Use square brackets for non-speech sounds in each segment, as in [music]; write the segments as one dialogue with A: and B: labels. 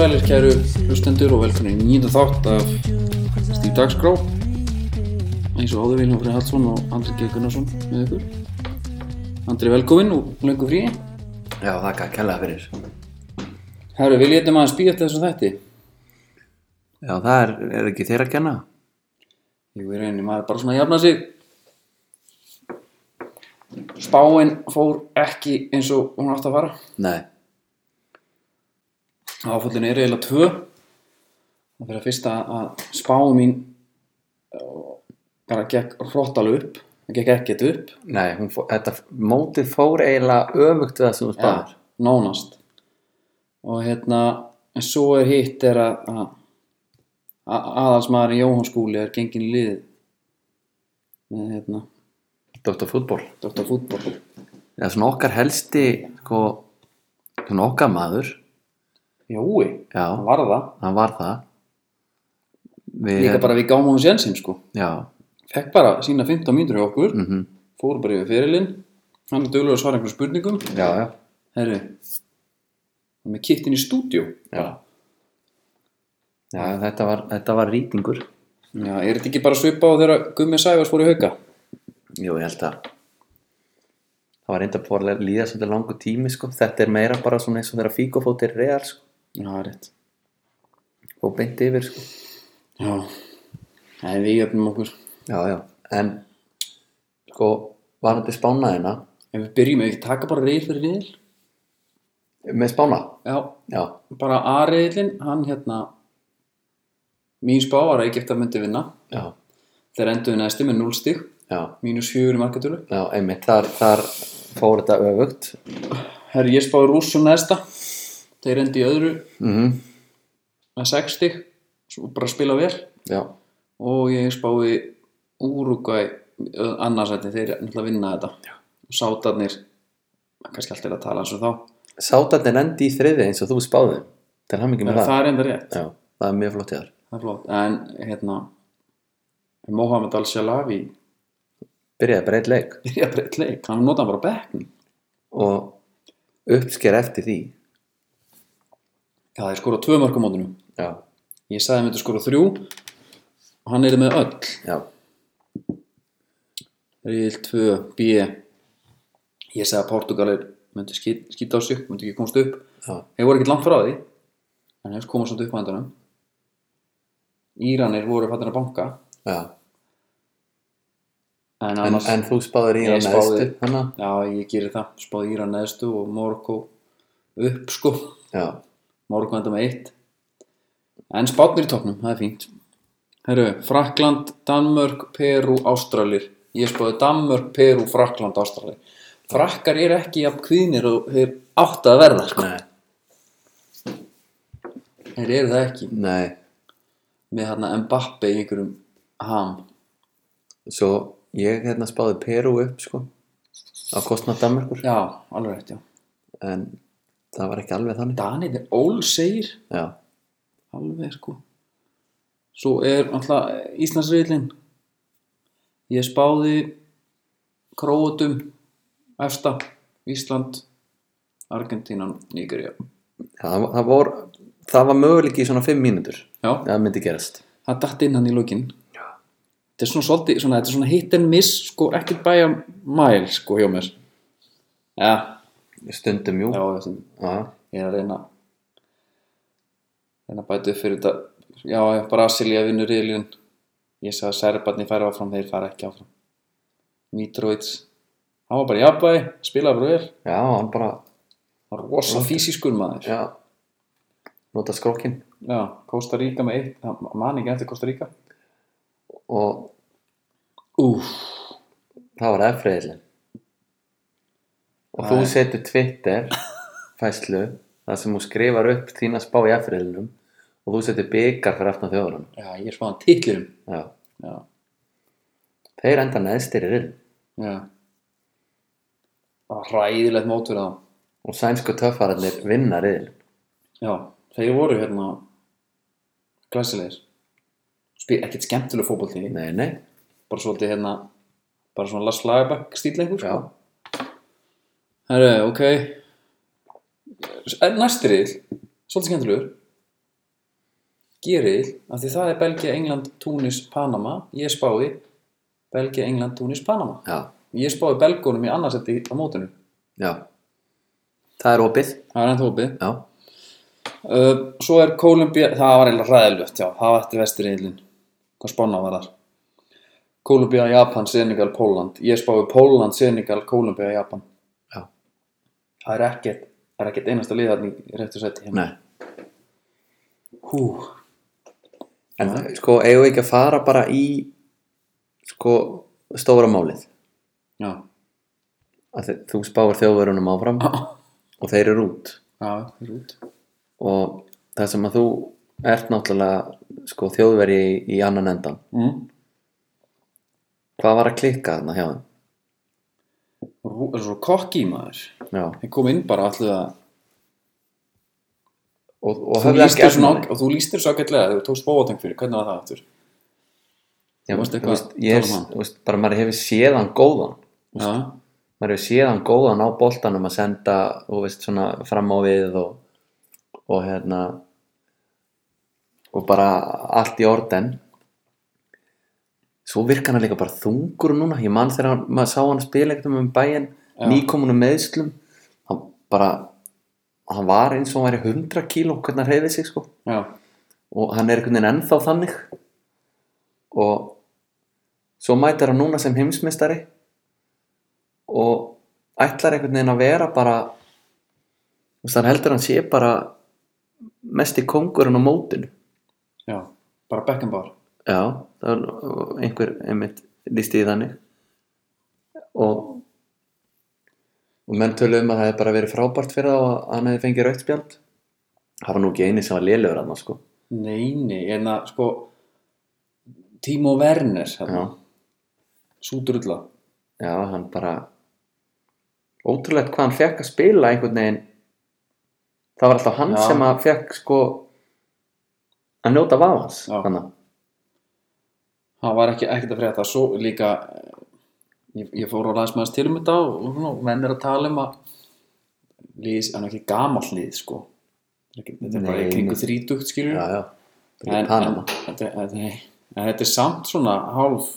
A: Sælir kæru hlustendur og velkomin í nýjum þátt af Stíf Dagskrá eins og áður Viljófri Hallsson og Andri G. Gunnarsson með ykkur Andri velkomin og löngu frí
B: Já, þakka, kærlega fyrir.
A: Herru, við létum aðeins býja eftir þessum þætti
B: Já, það er, er ekki þeir að kenna.
A: Jú, í rauninni, maður er bara svona að jafna sig Spáin fór ekki eins og hún átti að fara
B: Nei.
A: Áfallin er eiginlega tvö og þegar fyrst að að spá mín eh, bara gekk hróttalega upp það gekk ekkert upp
B: Nei, hún, fó- þetta mótið fór eiginlega öfugt við það sem hún spáður.
A: nánast og hérna en svo er hitt er að, að- að aðalsmaðurinn Jóhann Skúli er gengin í liðið með hérna
B: Dr. Fútból.
A: Dr. Fútbol
B: Það er svona okkar helsti, sko, svona okkar maður.
A: Jói,
B: Já,
A: hann var það
B: hann var það. Við,
A: líka bara við gáum hún sjansinn sko
B: Já,
A: fekk bara sína 15 mínútur hjá okkur
B: mhm,
A: fór bara yfir fyrirlinn hann er dögulega að svara einhverjum spurningum
B: já, já.
A: Herru, hann er með kittin í stúdjó.
B: Já. Já, þetta var, þetta var rýtingur.
A: Já, er þetta ekki bara svipa á þegar Gummi Sæfars fór í hauka?
B: Jú, ég held að það var reynda að búið að líða svolítið langu tími, sko. Þetta er meira bara svona eins og þeirra fíkofótið er real, sko.
A: Já, það er rétt.
B: Og beint yfir, sko.
A: Já, en við jöfnum okkur.
B: Já, já, en sko, hérna, varandi spánaðina
A: Ef við byrjum, ef við taka bara reyð fyrir reyðil.
B: með spána,
A: Já,
B: já,
A: bara A-reyðilinn, hann hérna, mín spá var að Egypta myndi vinna.
B: já,
A: Þeir enduðu næsti með 0 stig,
B: já,
A: mínus 4 í markatölu.
B: já, einmitt, þar, þar fór þetta öfugt
A: Herru, ég spáði rússum næsta. Þeir endi í öðru
B: mm
A: með 6 stig, svo bara spila vel.
B: já,
A: og ég spái Úrugvæ annarsætti þeir náttúrulega vinna þetta og sátarnir kannski alltaf er að tala eins og þá
B: sátarnir endi í þriði eins og þú spáði til hann ekki
A: en
B: með það,
A: það er enda rétt,
B: já, það er mjög flott í þar
A: það er flott en hérna Mohamed Al-Shalavi
B: byrjaði bara eitt leik
A: byrja að breyta leik, hann nota hann bara á bekknum
B: og uppsker eftir því
A: já þeir skora tvö mörgum mótunum
B: já,
A: ég sagði að myndi skora þrjú og hann er með öll
B: já,
A: Ríðil 2, B ég sagði að Portugalir myndi skýt, skýta á sig, myndi ekki komast upp
B: já,
A: Þeir voru ekkert langt frá því en þeir komast svolítið upp á endanum Íranir voru fattin að banka
B: já
A: en
B: en,
A: annars
B: en þú spáðir í
A: Ég
B: hann
A: spáði-
B: neðstu hana,
A: já ég gerir það spáði Íran neðstu og Morgo upp sko [laughs]
B: já,
A: Morgo enda með eitt en spátnir í topnum, það er fínt Herru, Frakland, Danmörk, Perú, Ástralir ég spáði Danmörk, Perú, Frakland, Ástralir Frakkar eru ekki jafn kvíðnir og þeir átt að verða sko.
B: nei,
A: þeir eru það ekki
B: nei
A: með þarna Mbappe í einhverjum ham
B: Svo ég hérna spáði Perú upp sko á kostnað Danmarkur
A: Já, alveg rétt, já.
B: en það var ekki alveg þannig
A: Danið er ólsegir,
B: Já,
A: alveg sko. Svo er alltaf Íslandsriðlinn. Ég spáði Króatum, Efsta, Ísland, Argentínan, Nígeria.
B: það, það, vor, það var möguleiki í svona fimm mínútur
A: Já,
B: það myndi gerast
A: það datt inn hann í lokin. Já. Þetta er svona svolítið, svona, þetta er svona hit and miss, sko, ekkert bæja mæl, sko, hjá mér. Já,
B: stundum jú
A: já,
B: Já,
A: þetta er
B: já,
A: ég er að reyna reyna að bæta upp fyrir þetta já, já, Brasilia vinnur riðlun ég sagði að Serbarni færa áfram þeir fara ekki áfram Mitrovic hann var bara í jafnvægi, spilaði bara vel
B: hann bara
A: hann var rosa fysískur maður já,
B: já, nota skrokkin
A: Costa Rica með eitt það man ekki eftir Costa Rica
B: og
A: Úf,
B: það var efriðilin og þú
A: Nei.
B: setur Twitter fæslu þar sem hún skrifar upp þína spá í efriðilinum og þú setur byggar fyrir aftan þjóðurum
A: já, ég er smáðan titlurum
B: Já,
A: já,
B: þeir enda neðstir í rinn
A: já það var ræðilegt mót fyrir þá
B: og sænsku töffararnir vinna riðil
A: já, þeir voru hérna glæsilegir Spil, ekkert skemmtileg fótbolti
B: nei, nei,
A: bara svolítið hérna bara svona Lars Lagerbäck stíl einhver sko.
B: já,
A: Herru, ok En næstriðil, svolítið skemmtilegur gerið af því það er Belgia, England, Túnis, Panama ég spái Belgia, England, Túnis, Panama
B: já,
A: ég spái belgunum í annarsetti á mótinu
B: já það er opið
A: það er ennþá opið
B: já,
A: uh, svo er Kólumbía, það var eiginlega ræðilvögt já, það var eftir vestir eilin hvað spána var þar Kólumbía, Japan, Senegal, Póland ég spái Póland, Senegal, Kólumbía, Japan
B: Já.
A: það er ekkert það er ekkert einasta liðarni í réttu seti hérna.
B: nei
A: hú,
B: en sko, eigum við ekki að fara bara í sko, stóra málið
A: já,
B: að þi- þú spáir þjóðverunum áfram og þeir eru út
A: já, það er út
B: og það sem að þú ert náttúrulega sko, þjóðveri í, í annan endan
A: mm.
B: hvað var að klikka þarna hjá þeim?
A: Rú- er svo kokki maður
B: Já.
A: þeir kom inn bara allir að
B: og, og
A: þú
B: höfðu ekki
A: lístir,
B: efni á
A: svona,
B: því.
A: og þú lístir svo ágætlega þegar þú tókst bóateng fyrir, hvernig var það aftur?
B: Já,
A: Þú veist
B: þú
A: eitthvað
B: veist, ég er,
A: tala um hann.
B: þú veist, bara maður hefur séð hann góðan
A: Já,
B: maður hefur séð hann góðan á boltanum að senda þú veist, svona, fram á við og, og hérna og bara allt í orden svo virkar hann líka bara þungur núna ég man þegar hann, maður sá hann spila ekkert um bæinn
A: Já.
B: nýkomunum meðslum hann bara hann var eins og hann væri 100 kíló hvernig hann reyði sig sko
A: já,
B: og hann er einhvern veginn ennþá þannig og svo mætir hann núna sem heimsmeistari og ætlar einhvern veginn að vera bara þú veist, hann heldur hann sé bara mesti kongurinn á mótinu
A: já bara Beckenbauer
B: já, það var einhver einmitt lísti í þannig og og menn töluðu um að það hefði bara verið frábært fyrir þá að hann hefði fengið rautt spjald það var nú ekki eini sem var lélugur hann sko
A: Nei, nei, en að sko Timo Werner hérna.
B: já.
A: Súdrulla
B: Já, hann bara ótrúlegt hvað hann fekk að spila einhvern veginn það var alltaf hann
A: Já.
B: sem að fekk sko að njóta vafans
A: Já.
B: þannig að-
A: það var ekki ekkert að frétta svo líka eh, ég, ég fór á ræðismæðast til um þetta og, og, svona, og menn er að tala um að lýs, hann er ekki gamall lið sko Þetta er ekki- þetta er bara
B: Nei,
A: í kringu
B: nei.
A: þrítugt skilur
B: já, já,
A: en, en,
B: Panama
A: þetta, en, nei, en þetta er samt svona hálf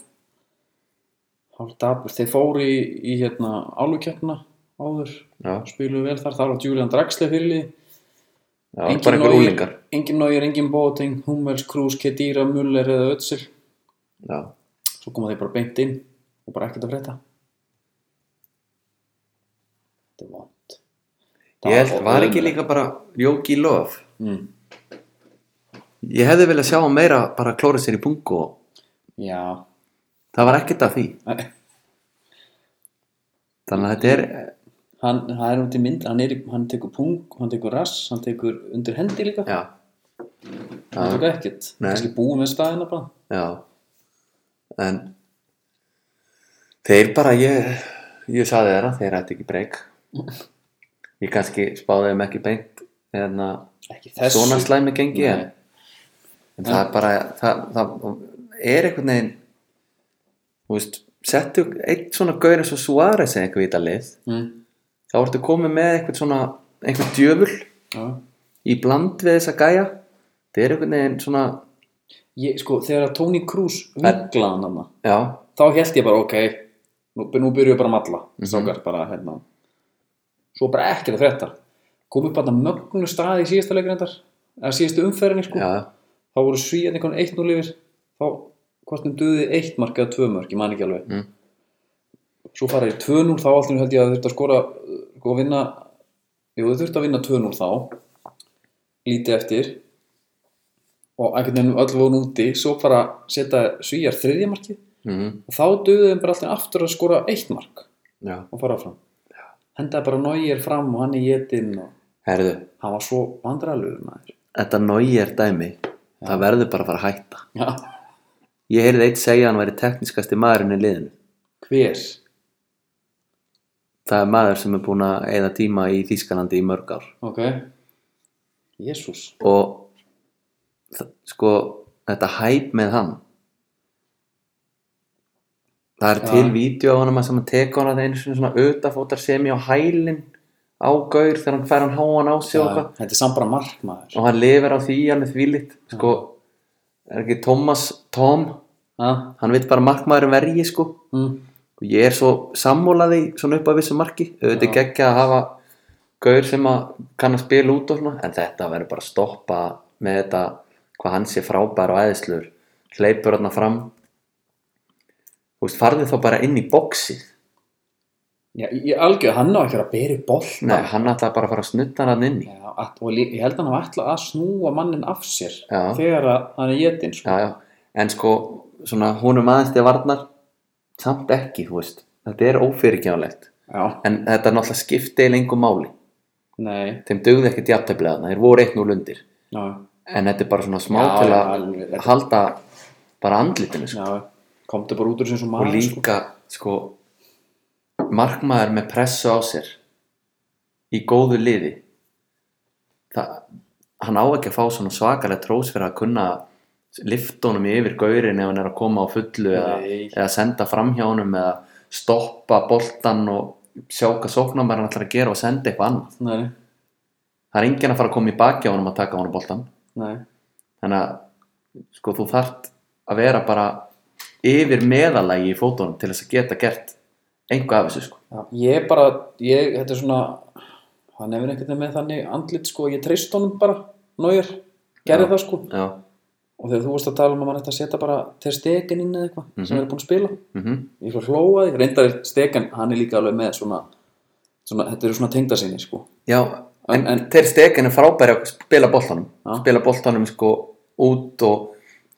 A: hálf dabur þeir fóru í, í hérna álugkeppna áður
B: já,
A: spiluðu vel þar, þar var Julian Draxler fyrirlið
B: já, bara einhver úlingar
A: engin nógir, engin bóting, Hummels, Krús, Kedira, Muller eða Ötsil
B: já,
A: svo koma þeir bara beint inn og bara ekkert að frétta þetta er vant
B: ég held, var ekki líka bara Jóki Lof
A: mm.
B: ég hefði viljað sjá hann meira bara klóra sér í bungu og
A: já, [laughs]
B: það var ekkert af því
A: Nei.
B: þannig að þetta er
A: hann, hann er út í mynd hann, er, í- hann tekur pung, hann tekur rass hann tekur undir hendi líka
B: já,
A: hann tekur ekkert,
B: Nei.
A: kannski búið með staðina bara
B: Já En Þeir bara ég Ég saði þeirra, þeir ætti ekki breyk Ég kannski spáði þeim ekki beint En að
A: ekki þessu
B: svona slæmi gengi en,
A: Nei.
B: en það er bara það, það er einhvern veginn Þú veist Settu einn svona gaur eins og Suárez eða eitthvað í þetta lið
A: mm.
B: Þá ertu komið með einhvern svona einhvern djöful
A: já.
B: í bland við þessa gæja Þeir eru einhvern veginn svona
A: ég, sko, þegar að Tony Cruz vinglaði hann hann
B: Já,
A: þá held ég bara ok nú, nú byrjuðu bara að matla mm bara, hérna. svo bara ekkert að frétta kom upp að mögnu staði í síðasta leikrendar eða síðastu umferðinni sko
B: já,
A: þá voru svíðan einhvern 1-0 yfir þá hvort þeim duði 1 mark eða 2 mark, ég man ekki alveg
B: Mm.
A: svo fara í 2-0 þá allir held ég að þurft að skora og vinna jú, þau þurft að vinna 2-0 þá lítið eftir og einhvern veginn öll voru úti svo bara setja svíjar þriðja markið
B: mhm,
A: og þá duðu þeim bara alltaf aftur að skora 1 mark
B: já.
A: og fara fram hendaði bara Neuer fram og hann er getinn og
B: Herðu,
A: hann var svo vandrarlegur maður
B: þetta nógir dæmi það verður bara að fara að hætta
A: já,
B: ég heyrði eitt segja að hann væri tekniskasti maðurinn í liðinu
A: hver?
B: það er maður sem er búin að eða tíma í Þýskalandi í mörg ár
A: Ok. Jésús.
B: og það, sko þetta hæp með hann það er
A: Já.
B: til vídeo á hann sem að teka hann að einu sinni svona utafótar semi á hælinn á gaur þegar hann fær hann háan á sig og hvað
A: Þetta er samt bara markmaður.
B: og hann lifir á því alveg þvílitt sko, er ekki Thomas Tom
A: Ha?
B: hann veit bara markmaðurinn vergi sko
A: Mm.
B: og ég er svo sammólaði svona upp að vissu marki
A: Já.
B: auðvitað ja. geggja að hafa gaur sem að kann að spila út og svona en þetta verður bara að stoppa með þetta hvað hann sé frábær og æðislur hleypur hann fram þú veist, farði þá bara inn í bóksið
A: Já, ég algjör, hann á ekki að vera að beri boll
B: Nei, hann ætlaði bara að fara að snutta hann inn í
A: Já, að, og lí- ég held að hann hafa ætlað að snúa mannin af sér
B: Já.
A: þegar að hann er getinn sko.
B: já, já. en sko, svona húnum aðeins til varnar samt ekki, þú veist þetta er ófyrirgjánlegt
A: Já,
B: en þetta er náttúrulega skipti í lengu máli
A: nei
B: þeim dugði ekkert jafnteflega þarna, þeir voru eitt núl undir
A: Já,
B: en þetta er bara svona smá
A: Já,
B: til
A: já,
B: að
A: alveg, þetta-
B: halda bara andlitinu sko.
A: já komdu bara út úr þessu
B: og
A: mann sko.
B: líka sko, markmaður með pressu á sér í góðu liði það, hann á ekki að fá svona svakalega trós fyrir að kunna lifta honum yfir gaurin ef hann er að koma á fullu eða,
A: Nei.
B: eða senda framhjá honum eða stoppa boltan og sjá hvað sóknarmæður hann ætlar að gera og senda eitthvað annað
A: Nei,
B: það er enginn að fara að koma í baki á honum að taka á honum boltan
A: nei
B: þannig að sko, þú þart að vera bara yfir meðalagi í fótunum til þess að geta gert einhvað af þessu sko.
A: Já, ég er bara, ég, þetta er svona hann hefur einhvern veginn með þannig andlit sko, ég treyst honum bara náir, gerði
B: Já.
A: það sko
B: já,
A: og þegar þú varst að tala um að mann ætti að setja bara til stekin inn eða eitthvað sem er búin að spila
B: mm
A: ég svo hlóaði, reyndar er stekan hann er líka alveg með svona, svona þetta eru svona tengdasinni sko
B: já
A: En-
B: en,
A: en-
B: Ter Stegen er frábæri að spila boltanum
A: Já.
B: spila boltanum sko út og,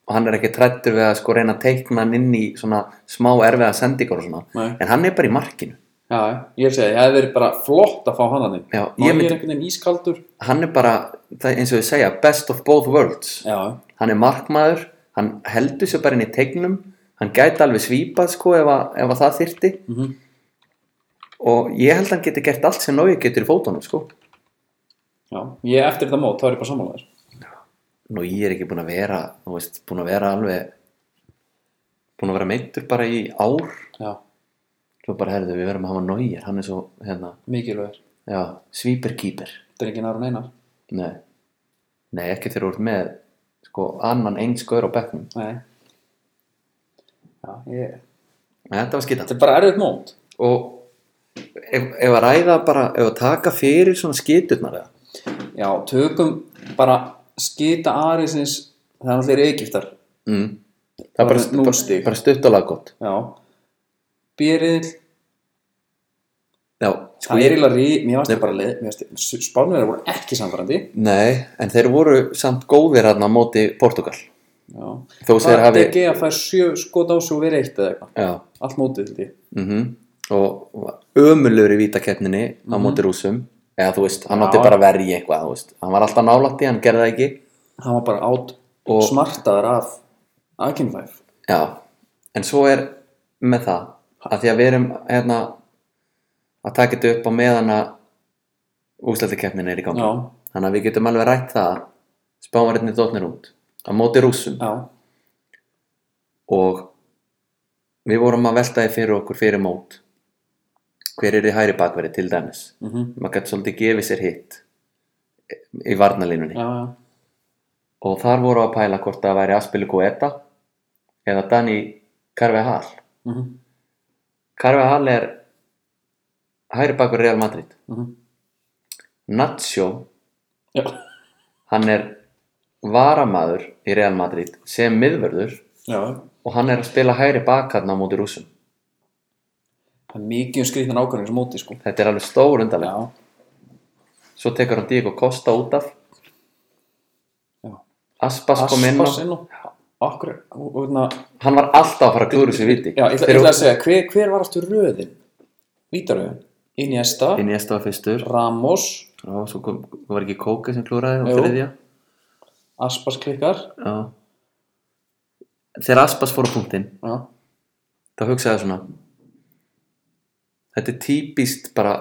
B: og hann er ekki trættur við að sko reyna að teikna hann inn í svona smá erfiða sendingar og svona
A: Nei.
B: en hann er bara í markinu
A: Já, já, ég er að segja, ég hefði verið bara flott að fá hann að þig
B: Já,
A: ég
B: ég
A: er
B: myndi-
A: einhvern veginn ískaldur
B: hann er bara, það er eins og ég segja, best of both worlds
A: Já,
B: hann er markmaður, hann heldur sér bara inn í tegnum, hann gæti alveg svýpað sko ef að, ef að það þyrti
A: Mhm.
B: og ég held að hann geti gert allt sem Nói getur í fótunum sko
A: já, ég eftir þetta mót, þá er ég bara sammálaður
B: Nú ég er ekki búin að vera, þú veist, búin að vera alveg búin að vera meittur bara í ár
A: Já,
B: svo bara herðu við verðum að hafa Nói hann er svo, hérna,
A: mikilvægur,
B: já, svíperkýper
A: þetta er ekki nærun einar
B: nei, nei, ekki þegar þú ert með sko annan eins gaur á bekknum
A: Nei Já, ég
B: en þetta var skita
A: Þetta er bara erfitt mót
B: og ef, ef að ræða bara ef að taka fyrir svona skiturnar eða
A: Já, tökum bara skita Arisins það er allir Egiptar
B: mm. það er
A: Bara
B: bara,
A: núll
B: bara,
A: stig.
B: bara stuttalega gott
A: Já Bíriðil,
B: já,
A: það er eiginlega rí Mér varst
B: Nei.
A: það bara leið mér varst- Spánverjar voru ekki samfærandi
B: nei, en þeir voru samt góðir hann á móti Portugal
A: Já
B: þó þeir
A: Það
B: hafi
A: er ekki að fær sjö skot á sig og verið eitt eða eitthvað
B: já,
A: Allt mótið til því
B: mm
A: Mhm.
B: og ömulur í vítakeppninni á móti rúsum eða þú veist, hann
A: Mhm. Já.
B: átti bara að verja í eitthvað þú veist. hann var alltaf nálægt í, hann gerði það ekki
A: Hann var bara átt
B: Og-
A: smartaður af Akinfæf
B: já, en svo er með það að því að við erum hérna, að taka þetta upp á meðan að úslættikeppnin er í gangi
A: Já,
B: Þannig að við getum alveg rætt það að spámarinni dotnir út á móti rússum
A: já,
B: og við vorum að velta því fyrir okkur fyrir mót hver er í hæri bakveri til dæmis
A: mhm,
B: maður gæti svolítið gefið sér hitt í varnalínunni
A: já, já,
B: og þar voru að pæla hvort það væri Aspilu Guetta eða Dani Carvejal
A: mhm,
B: Carvejal er hæri bakveri Real Madrid
A: mhm
B: Nacho,
A: Já,
B: hann er varamaður í Real Madrid sem miðvörður
A: já
B: og hann er að spila hægri bakarna á móti rúsum
A: Það er mikið um skrýtnar ákvæðin sem móti sko
B: þetta er alveg stór undanlega
A: Já,
B: svo tekur hann Diego Costa út af
A: Já.
B: Aspas kom inn á
A: Aspas inn á Akkur, og, og, na,
B: hann var alltaf að fara að klúru sér viti
A: já, ég ætla- ég ætla að segja, hver, hver var aftur röðin? Vítaröðin Iniesta,
B: inn í Estafa fyrstur
A: Ramos,
B: og svo kom, var ekki Kóka sem klúraði
A: Jú.
B: og þriðja
A: Aspas klikkar
B: Já. þegar Aspas fór á punktinn
A: Já,
B: þá hugsaði ég svona þetta er típist bara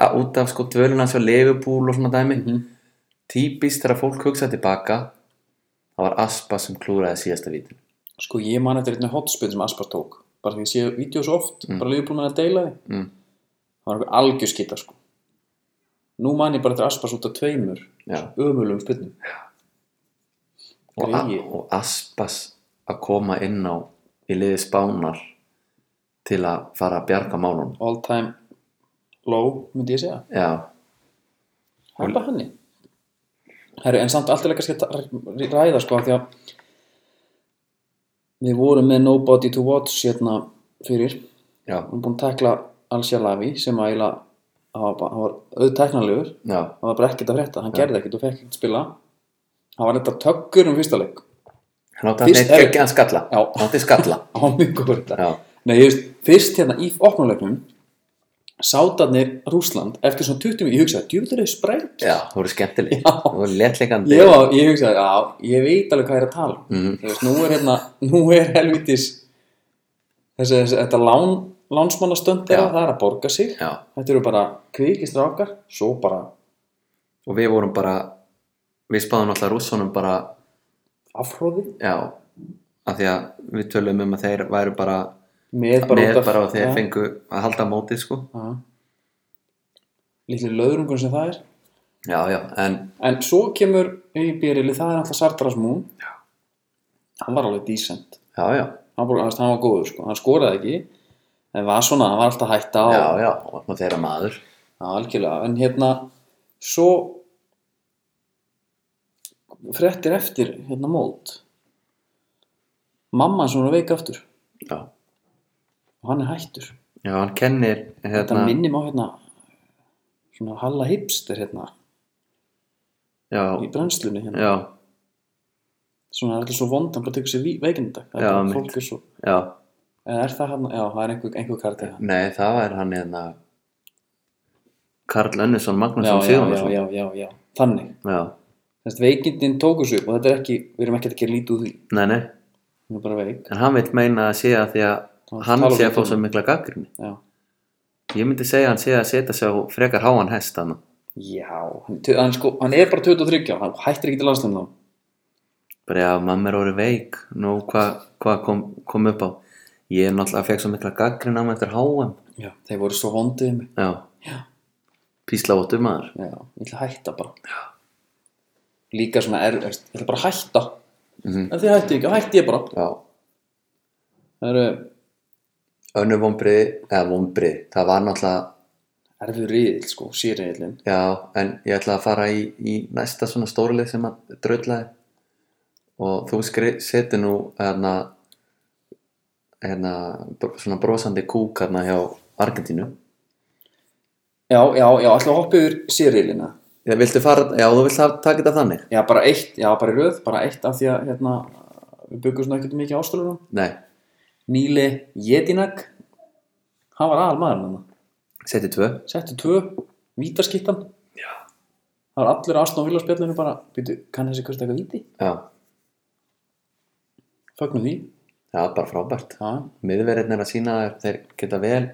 B: að- út af sko dvölun hans á Liverpool og svona dæmi
A: Mhm.
B: típist þegar fólk hugsaði tilbaka það var Aspa sem klúraði síðasta vítin
A: sko ég man eftir einnig hotspinn sem Aspas tók bara því ég sé vídeo svo oft, bara lífið búin að deila því
B: Mm.
A: Það var einhver algjör skita sko Nú man ég bara eftir Aspas út af tveimur
B: Já.
A: ömulum spinnum
B: og, a,
A: Gregi.
B: og Aspas að koma inn á í liði spánar til að fara að bjarga málun
A: all time low myndi ég segja
B: já,
A: hæpa henni Herru, en samt alltaf kannski að ta- ræða sko af því að við vorum með Nobody to Watch hérna fyrir við
B: já,
A: erum búin að tekla Al-Shalavi sem að eiginlega hann var bara- hann var auðteknanlegur
B: já,
A: hann var bara ekkert að frétta, hann gerði ekkert og fekk ekkert spila hann var neitt tökkur um fyrsta leik
B: hann átti
A: Fyrst
B: að
A: er-
B: ekki að skalla
A: Já.
B: hann
A: [laughs]
B: átti skalla
A: á mjög góður þetta
B: já,
A: Nei, ég veist, fyrst hérna í opnulegnum sátarnir Rúsland eftir svona 20 minn, ég hugsaði, djúvillir þau spreyt
B: já, þú voru skemmtileg
A: Já.
B: þú voru letleikandi
A: ég, var, ég hugsaði, já, ég veit alveg hvað ég er að tala um
B: Mhm.
A: þú veist, nú er hérna, nú er helvitis þessi, þessi þetta lán, lánsmannastönd þeirra,
B: Já.
A: það er að borga sig
B: já,
A: þetta eru bara kvikistrákar svo bara
B: og við vorum bara við spáðum alltaf rússunum bara
A: afhróði
B: já, af því að við tölum um að þeir væru bara
A: með bara
B: með
A: út af-
B: bara að þeir
A: Já.
B: fengu að halda mótið sko
A: Já. litli löðrungun sem það er
B: já, já, en
A: En svo kemur í byrjili, það er alltaf Sartras Moon
B: Já.
A: Hann var alveg decent
B: já, já,
A: Hann, bara, hann var góður, sko. hann skoraði ekki En var svona, hann var alltaf að hætta á
B: já, já, og nú þeirra maður
A: Já, algjörlega, en hérna Svo Frettir eftir Hérna mót Mamma hans er svona veik aftur
B: já,
A: Og hann er hættur
B: já, hann kennir
A: Þetta
B: hérna,
A: minnir mig á hérna Svona Halla Hipster hérna
B: já,
A: Í brennslunni hérna
B: já,
A: Svona það er alltaf svo vond, hann bara tekur sér veikindag
B: Já,
A: Fólk er svo
B: já
A: Eða er það hann, já, það er einhver, einhver kartið hann.
B: nei, það var hann hérna Karl Önnesson
A: Já,
B: Magnússon
A: já, já,
B: Sigurðarsson
A: já, já, já, þannig.
B: já,
A: Þess að veikindin tóku sig upp og þetta er ekki, við erum ekki að gera lítið úr því.
B: nei, nei,
A: Hún er bara veik.
B: en hann vil meina að sé að því
A: Hann
B: að hann
A: talar
B: sé
A: um
B: að fá
A: tíma.
B: svo mikla gaggrinni
A: Já,
B: ég myndi segja að hann sé að setja sig á frekar háan hest hann
A: já, hann, tu- hann, sko, hann er bara 23 ára, hann hættir ekki til landslæðin þá.
B: bara já, mamma er orðið veik nú hvað hva kom, kom upp á ég er náttúrulega fekk svo mikla gaggrin á mig eftir háum
A: Já, þeir voru svo vondið um mig.
B: já,
A: Já.
B: písla vottum maður
A: Já, ég ætla að hætta bara. Já. Líka svona erfist, ég ætla bara að hætta.
B: Mhm.
A: En þið hættu ekki, þá hætti ég bara.
B: já,
A: Það eru
B: önnu vombrið eða vombrið, það var náttúrulega
A: erfið riðil, sko, sírriðilinn.
B: já, en ég ætla að fara í, í næsta svona stórlið sem að dröllaði og þú skri, seti nú hérna hérna, br- svona brosandi kúk hérna hjá Argentínu
A: Já, já, já, ætla að hoppa yfir sírriðilina.
B: Já, viltu fara, já, þú vilt hafa- taka þetta þannig?
A: Já, bara eitt, já, bara í röð, bara eitt af því að hérna, við byggum svona ekkert mikið ástölunum.
B: Nei,
A: Níli Jedinak, hann var aðal maður hann.
B: seti tvö
A: Setti tvö, vítaskittan. Já. Það var allir ástun á viljarspjallinu bara, býtu, kann þessi kvist eitthvað víti?
B: já,
A: Fögnum því.
B: já, bara frábært
A: Já,
B: miðverðin er að sína að þeir geta vel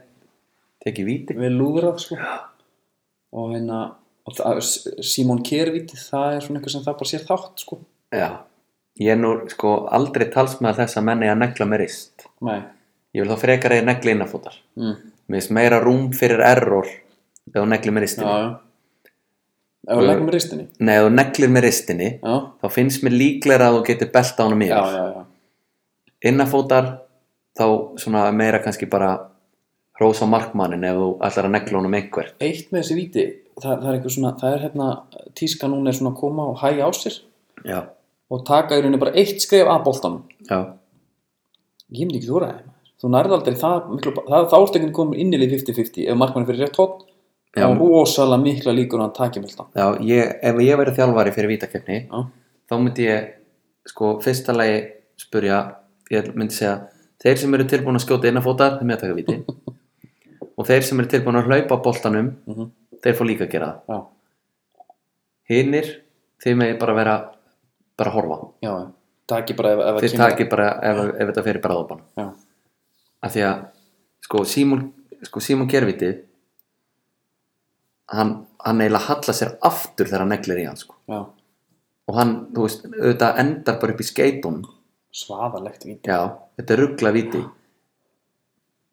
B: tekið víti
A: við lúðrað, sko. Já. Og hérna, og það, Simon Kjærvíti, það er svona eitthvað sem það bara sér þátt, sko.
B: Já, ég er nú sko aldrei talsmaður þess að menni að negla með rist
A: Nei.
B: ég vil þá frekar að ég negli innafótar
A: Mm.
B: mér finnst meira rúm fyrir error ef þú neglir með
A: Já,
B: ristinni
A: já. Ef við leggum ristinni.
B: Nei, ef þú neglir með ristinni
A: Já.
B: þá finnst mér líklega að þú getur belt á hana
A: Já,
B: mér
A: já, já.
B: innafótar þá svona meira kannski bara hrósa markmannin ef þú ætlar að negla honum einhver
A: eitt með þessi víti það, það er eitthvað svona, það er hérna tíska núna er svona að koma og hægja á sér
B: Já,
A: og taka í rauninni bara eitt skref að boltanum
B: já,
A: ég myndi ekki þóra það maður. þú nærði aldrei það, miklu, það þá ertu ekki komin inn í lið 50-50 ef markmann er fyrir rétt hótt þá
B: Já.
A: er rosalega mikla líkur að hann taki boltan
B: já ég, ef ég verið þjálfari fyrir vítakefni
A: já,
B: þá myndi ég sko fyrsta lagi spurja ég myndi segja þeir sem eru tilbúin að skjóta innafótar þeir með að taka viti
A: [laughs]
B: og þeir sem eru tilbúin að hlaupa boltanum
A: Mhm.
B: þeir fór líka að gera það
A: já,
B: hinnir þeir megi bara vera bara horfa
A: já, já. taki bara ef, ef það
B: þeir taki bara ef, ef þetta fyrir bara áðupan
A: já,
B: af því að sko Simon, sko, Simon Gerviti hann, hann eiginlega halla sér aftur þegar hann neglir í hann sko.
A: já,
B: og hann, þú veist, auðvitað endar bara upp í skeitunum
A: svaðalegt víti
B: Já, þetta er ruggla viti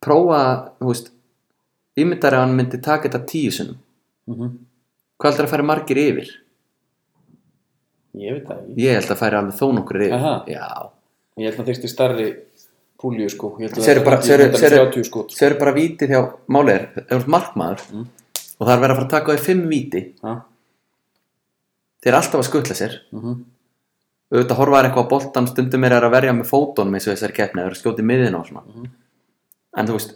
B: Prófa, þú veist Ímyndar að hann myndi taka þetta tíu sinnum
A: mm
B: Hvað heldur að fara margir yfir?
A: Ég veit það ekki.
B: Ég held að færi alveg þó nokkur yfir.
A: Aha.
B: Já.
A: Ég held að þyrfti stærri púlíu sko. Ég held að
B: Sérðu bara-
A: það er
B: sérðu- sérðu-
A: 130 skot.
B: Þau eru bara vítið hjá málið er, ef þú ert markmaður og það er verið að fara að taka á því fimm víti,
A: Ha?
B: þeir eru alltaf að skutla sér.
A: Mhm.
B: Auðvitað horfa þær eitthvað á boltan, stundum er þær að verja með fótónum eins og þessari keppni, þær eru að skjóta í miðin og svona.
A: Mhm.
B: En þú veist,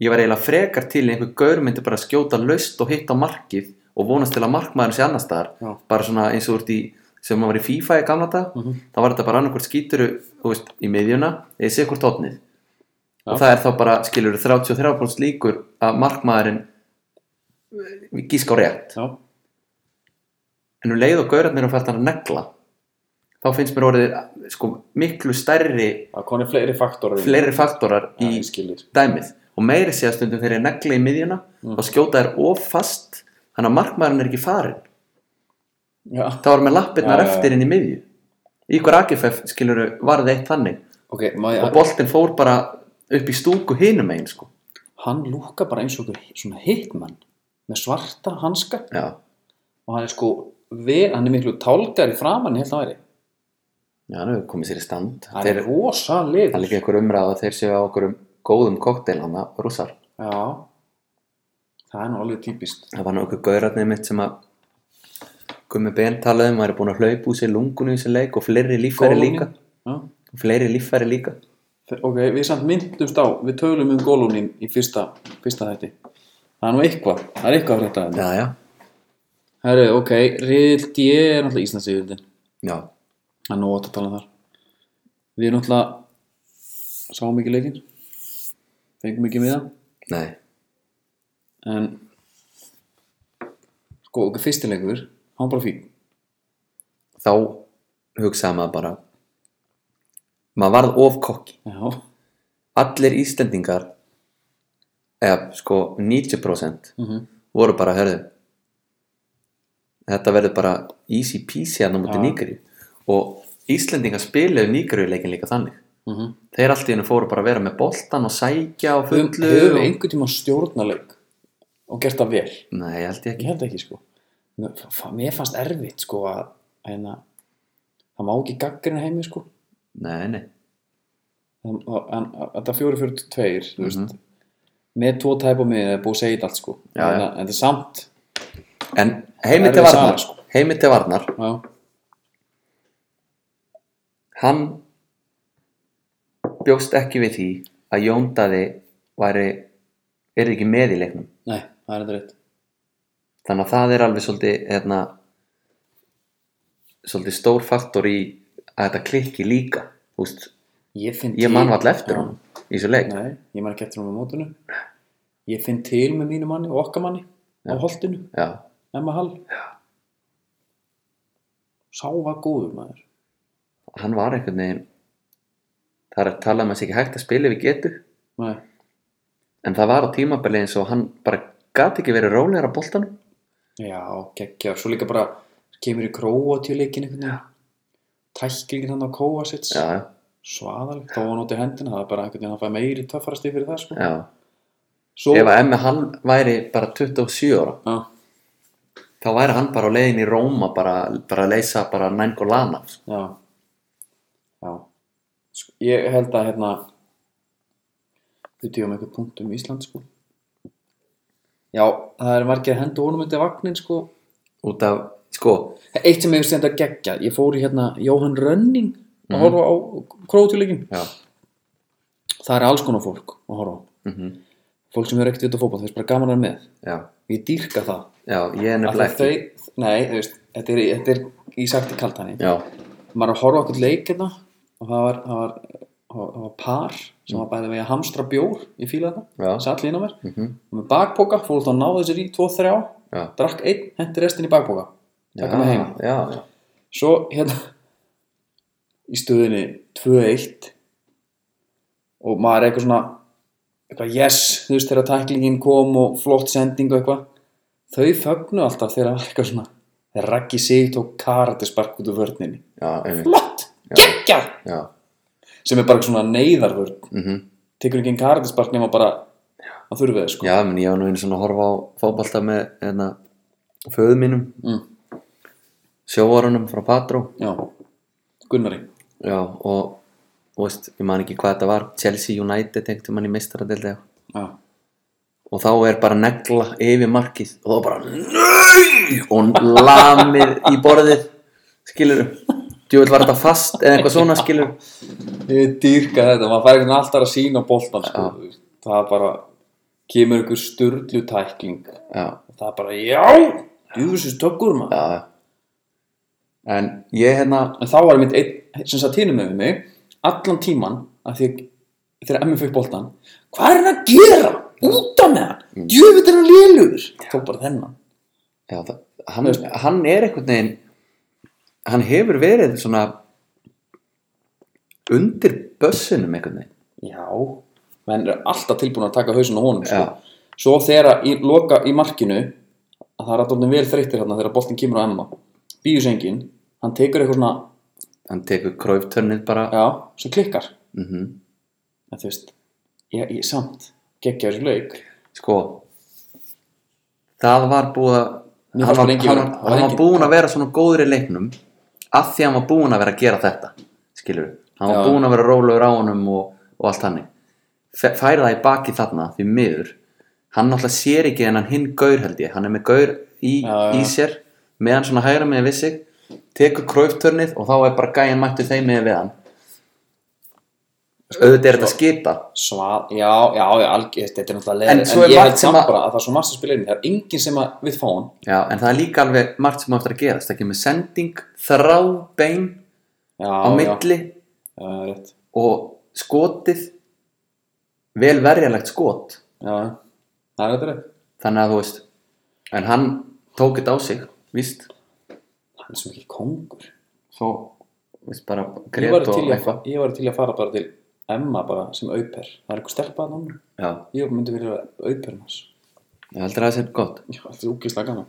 B: ég var eiginlega frekar til í einhver gaur myndi bara skjóta laust og hitta á markið og vonast til að markmaðurinn sé annar staðar.
A: Já.
B: Bara svona eins og úr því sem maður var í FIFA í gamla dag,
A: Mhm.
B: mm þá var þetta bara annarkvort skíturu, þú veist, í miðjuna eða sé hvort tóknið.
A: Já.
B: Og það er þá bara, skilur 33% líkur að markmaðurinn eh, gísk á rétt
A: Já.
B: en um leið og gaurarnir eru fært að negla þá finnst mér orðið sko, miklu stærri
A: Það koni fleiri faktorar. inn.
B: fleiri faktorar
A: Já,
B: í
A: ég skilir.
B: dæmið og meiri sé að stundum þegar ég negla í miðjuna
A: Mm.
B: þá skjóta þær of fast þannig að markmaðurinn er ekki farinn
A: Já.
B: þá er með lappirnar
A: Já, já, já.
B: eftir inn í miðju í hver AGFF skilur varði eitt þannig
A: Ok, má ég
B: og boltinn fór bara upp í stúku hinum einn sko
A: hann lúka bara eins og einhver svona hitmann með svarta hanska
B: já,
A: og hann er sko vel, hann er miklu tálgar í framann ég held að væri,
B: já, hann hefur komið sér í stand
A: hann
B: þeir,
A: er rosa lið
B: það er líka einhver umræða að þeir séu á okkur um góðum kokteil hann að rússar
A: já það er nú alveg típist
B: það var nú okkur gaurarnið mitt sem að Gummi Ben talaði um, maður er búin að hlaupa úr sér lungunum í sér leik og fleiri líffæri líka
A: já.
B: og fleiri líffæri líka
A: Fe- ok, við samt myndumst á við tölum um gólúnin í fyrsta, fyrsta þætti það er nú eitthvað, það er eitthvað fyrir þetta
B: já, já,
A: herru, ok, Riðil D er náttúrulega Íslandsíðuldin
B: já,
A: það er nú ótt að tala um þar við erum náttúrulega sáum ekki leikinn fengum ekki miða
B: nei
A: en sko, ok, fyrstilegur hann var bara fín
B: þá hugsaði maður bara maður varð of kokki
A: já,
B: allir Íslendingar eða sko 90%
A: Mhm.
B: voru bara, hörðu þetta verður bara easy peasy hann á múti
A: Já.
B: nýgri og Íslendingar spilaðu nýgri leikin líka þannig
A: Mhm.
B: þeir allt í hennu fóru bara að vera með boltan og sækja og
A: höfum
B: fullu
A: höfum við
B: og...
A: einhvern tíma stjórnarleik og gert það vel
B: nei, ég held ég
A: ég
B: ekki
A: held ekki sko mér fa- mér fannst erfitt sko að hérna, það má ekki gaggrina heimi sko
B: nei, nei,
A: en og- en- að- þetta fjóri fyrir tveir mm veist, með tvo tæp og miðið er búið að segja þetta allt sko
B: Mhm. Já, já.
A: en, en það er samt
B: en heimi
A: Erfið
B: til
A: saga,
B: varnar
A: sko.
B: heimi til varnar,
A: já,
B: hann bjóst ekki við því að Jón Daði væri er ekki með í leiknum
A: nei, það er þetta rétt
B: þannig að það er alveg svolítið hérna, svolítið stór faktor í að þetta klikki líka Úst,
A: ég, finn
B: ég
A: til-
B: man vall eftir
A: Já.
B: hann í þessu leik
A: Nei, ég maður ekki eftir hún á mótinu Ég finn til með mínu manni og okkar manni á holtinu,
B: já,
A: Emma Hall Sá var góður maður
B: hann var einhvern veginn það er að tala um að sé ekki hægt að spila við getu
A: Nei,
B: en það var á tímabili eins og hann bara gat ekki verið rólegur á boltanum
A: já, geggjar Svo líka bara kemur í króa til leikin einhvern veginn Tæklingin hann á Kovacic
B: já,
A: Svaðaleg, þá var hann út í hendina Það er bara einhvern veginn að fæ meiri töffarasti fyrir það sko.
B: já
A: Svo,
B: ef að emmi hann væri bara 27 ára
A: já,
B: þá væri hann bara á leiðin í Róma bara, bara að leysa bara Nængolana
A: já Já Sko, Ég held að hérna Við tíum eitthvað punkt um Ísland sko Já, það er margir að henda honum undir vagnin sko
B: út af, sko
A: Eitt sem hefur sendt að gegja Ég fór í hérna Jóhann Rönning að horfa á krótilegin
B: Mhm. já,
A: Það er alls konar fólk að horfa á
B: mhm,
A: Fólk sem hefur ekkert vita fótboll, það er bara gaman að vera með
B: já,
A: Ég dýrka það
B: já ég er
A: Af því
B: nefnilega
A: að
B: ekki
A: þau, Nei, þú veist, þetta er, þetta er í sakti kalt hann
B: já,
A: Maður er að horfa á okkur leik hérna og það var, það var, það var par sem var bæði við að hamstra bjór ég fíla þetta,
B: Mhm. Já.
A: satt lína mér
B: mhm,
A: og með bakpoka, fór út að náða þessir í 2-3
B: já
A: drakk einn, hendi restin í bakpoka
B: já,
A: taka með heim
B: já, já,
A: Svo hérna í stöðinni 2-1 og maður er eitthvað svona eitthvað yes, þú veist þegar tæklingin kom og flott sending og eitthvað þau fögnu alltaf þegar það var eitthvað svona þegar Raggi Sig tók karatispark út úr vörninni
B: já, einmitt,
A: flott, geggjað
B: já
A: sem er bara svona neyðarvörn
B: mhm,
A: tekur ekki en karatispark nema bara að þurfi það sko
B: Já, menn ég var nú einu svona að horfa á fótbolta með hérna, föðu mínum
A: Mm.
B: sjóvarunum frá Patró
A: Já, Gunnari
B: Já, og þú veist, ég man ekki hvað þetta var Chelsea United einhvern mann í mistaradeldi
A: Já,
B: og þá er bara negla yfir markið og þá bara NEI og lamir í borðið skilur djúvel var þetta fast eða eitthvað svona skilur
A: ég dýrka þetta maður fær einhvern veginn alltaf að sína boltan sko. þú veist. það er bara kemur einhver sturdlu tækling
B: Já,
A: það er bara, já, djúfisins tökur maður
B: já En ég hérna
A: en þá var mitt einn sem satt hinum með mig allan tíman að því þegar MF fikk boltan hvað er hann að gera? út af með hann djöfitt er hann lélur tók bara þennan
B: já, það, hann, hann er einhvern veginn hann hefur verið svona undir bössunum einhvern veginn
A: já, menn er alltaf tilbúin að taka hausin á honum sko.
B: Já.
A: svo þegar að í, loka í markinu að það er alltaf vel þreyttir hérna þegar boltin kemur á Emma bíusengin, hann tekur eitthvað svona
B: hann tekur króftörnið bara
A: já, svo klikkar
B: mhm
A: en þú veist, ég, ég samt geggja þessu leik
B: sko það var búið að
A: Mér
B: hann
A: fannst
B: var,
A: bara engin
B: hann,
A: vera- það var
B: hann var
A: engin-
B: búin að vera svona góður í leiknum af því að hann var búin að vera að gera þetta skilur hann var
A: Já.
B: búin að vera rólegur á honum og, og allt hannig færi það í baki þarna því miður hann náttúrulega sér ekki en hann hinn gaur held ég hann er með gaur í,
A: Já, já.
B: í sér meðan svona hægra með við sig tekur króftörnið og þá er bara gæin mættu þeim með við hann auðvitað er þetta skipa
A: Svað, já, já, já, algjör, þetta er náttúrulega leður
B: En svo er
A: ég
B: margt
A: held
B: sem
A: samt
B: að-
A: bara að það er svo margt að spila inn Það er enginn sem að við fá hann
B: Já, en það er líka alveg margt sem á eftir að gerast. Það kemur sending, þrá bein
A: Já,
B: á milli
A: já, já, rétt
B: og skotið vel verjalegt skot.
A: Já, já. það er þetta rétt
B: Þannig að þú veist, en hann tók þetta á sig, víst.
A: Hann er svo mikið kongur
B: Svo, víst, bara
A: Ég
B: grét
A: var,
B: og
A: til að, ég var til í að fara bara til Emma bara sem auper Það er eitthvað stelpað hann
B: Já,
A: Ég myndi vilja vera auper hans [laughs]
B: ég heldur að það sé gott.
A: Já, þetta er úkislega gaman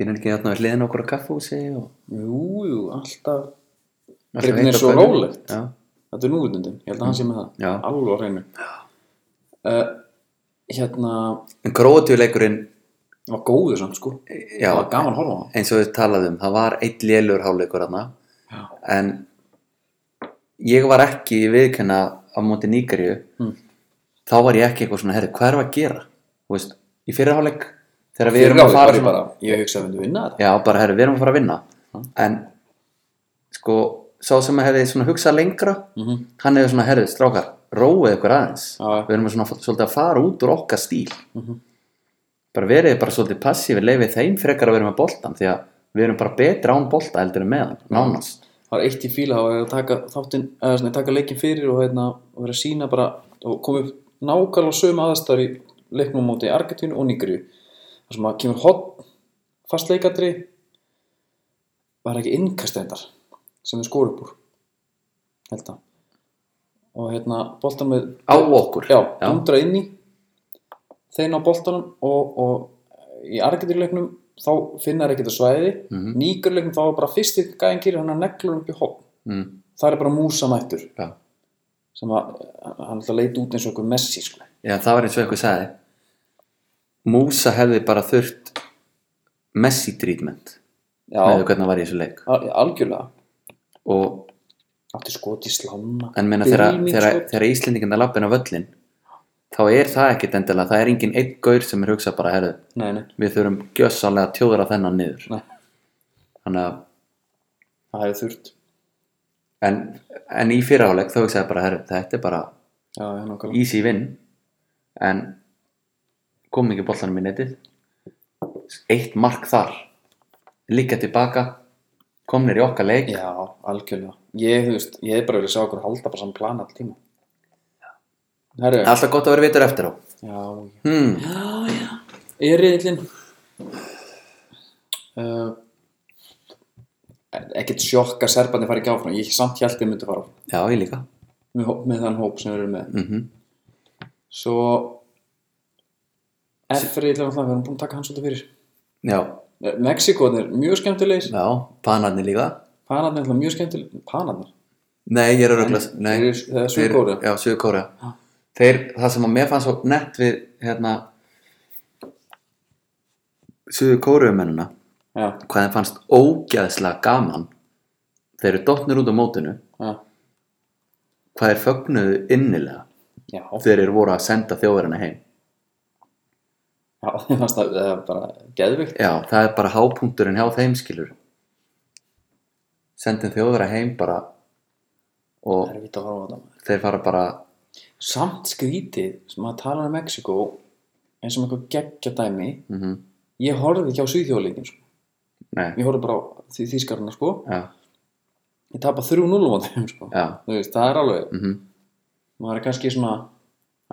B: Býnir ekki þarna hérna við hliðin okkur á kaffúsi og...
A: Jú, jú, alltaf
B: Allt
A: Grét,
B: veit
A: nei,
B: á
A: svo
B: hverju.
A: rólegt.
B: Já,
A: Þetta er núvitundin, ég held að hann sé með það
B: Já.
A: Alveg á hreinu uh, Hérna,
B: en gróðtjúleikurinn,
A: það var góður samt sko
B: já,
A: Það var gaman að horfa á hann
B: eins og við talaðum, það var eitt lélur háleikur þarna.
A: Já.
B: en ég var ekki viðkenna á móti nýgarju
A: Mm.
B: þá var ég ekki eitthvað svona herri, hvað erum við að gera Þú veist, í fyrirháleik þegar við
A: Fyrir
B: erum
A: árið
B: að fara
A: var ég
B: svona-
A: bara, ég hugsa að myndi vinna þetta.
B: já, bara herri, við erum að fara að vinna
A: Mm.
B: en sko sá sem hefði svona hugsað lengra
A: Mhm.
B: hann hefði svona herri, strákar, róið ykkur aðeins
A: Já, já.
B: við erum svona svolítið að fara út úr okkar stíl
A: Mhm.
B: bara verið bara svolítið passífi leifið þeim frekar að vera með boltan því að við erum bara betra án bolta heldur en með hann, nánast
A: Það var eitt í fíla, það var að taka þáttinn, eða svona, taka leikin fyrir og hérna, og vera að sína bara, og koma upp nákvæmlega sömu aðstæður í leiknum á móti Argentínu og Nigri. Það sem að kemur hot, fast leikadri, var ekki innkastendar sem þau skóru upp úr, held að. Og hérna, boltan með,
B: á okkur
A: já, dundra inn í, þeir ná boltanum og, og í Argentínu leiknum þá finna þær ekkert að svæði,
B: Mhm.
A: Nígur leiknum þá var bara fyrsti gæðin gerir hann að neglur upp í hopn
B: Mm,
A: það er bara músa mættur
B: já.
A: sem að hann alltaf leit út eins og einhver messi sko.
B: já, það var eins og eitthvað sagði Músa hefði bara þurft Messi treatment
A: já,
B: með hvernig það var í þessu leik
A: al algjörlega
B: og,
A: átti skot í slána
B: en meina þegar,
A: Bílmín
B: þegar,
A: skot.
B: þegar Íslendingan er lappin á völlin þá er það ekkit endilega það er engin einn gaur sem er hugsað bara herðu,
A: nei, nei,
B: við þurfum gjössalega að tjóðra þennan niður
A: Nei.
B: þannig að
A: það hefði þurft
B: en, en í fyrirháleik þá hugsaði ég bara herru, þetta er bara
A: já, já, nákvæmlega
B: easy win en kom ekki bollanum í netið eitt mark þar líka tilbaka komnir í okkar leik
A: já, algjörlega ég, þú veist, ég hef bara verið að sjá okkur halda bara saman plan all tíma herru, já,
B: alltaf gott að vera vitur eftir á
A: já
B: hmm.
A: eriðillin uh, ekkert sjokk að serbarnir fari ekki áfram ég samt hjælti að myndu fara áfram
B: já ég líka
A: með, hó- með þann hóp sem við erum með
B: mm
A: Svo Efri ætlaði alltaf, við erum búin að taka hans út af fyrir
B: já,
A: Mexikoðin er mjög skemmtilegir
B: já, panarnir líka
A: Panarnir er alltaf mjög skemmtilegir Panarnir?
B: nei ég er að rögla
A: Nei, þeir eru- það er Suður-Kórea.
B: já, Suðkóra
A: Já.
B: þeir, það sem að mér fannst svo nett við hérna Suðkóruumennina
A: já,
B: hvað þeim fannst ógæðslega gaman þeir eru dottnir út á mótinu
A: já,
B: hvað þeir fögnuðu innilega
A: já,
B: þegar þeir voru að senda þjóðverðina heim
A: já, [laughs] ég fannst það, það er bara geðvikt.
B: já, það er bara hápunkturinn hjá þeim skilur sendin þjóðverða heim bara
A: Það
B: og
A: er vít að horfa á það.
B: þeir fara bara
A: Samt skrítið, sem maður talar um Mexiko, eins og með eitthvað geggja dæmi,
B: mhm,
A: ég horfði ekki á Svíþjóðleikin, sko.
B: nei,
A: Ég horfði bara á því þýskarna, sko.
B: já,
A: Ég tapa 3-0 á þeim, sko.
B: já
A: Þú veist, það er alveg,
B: mhm,
A: maður er kannski svona,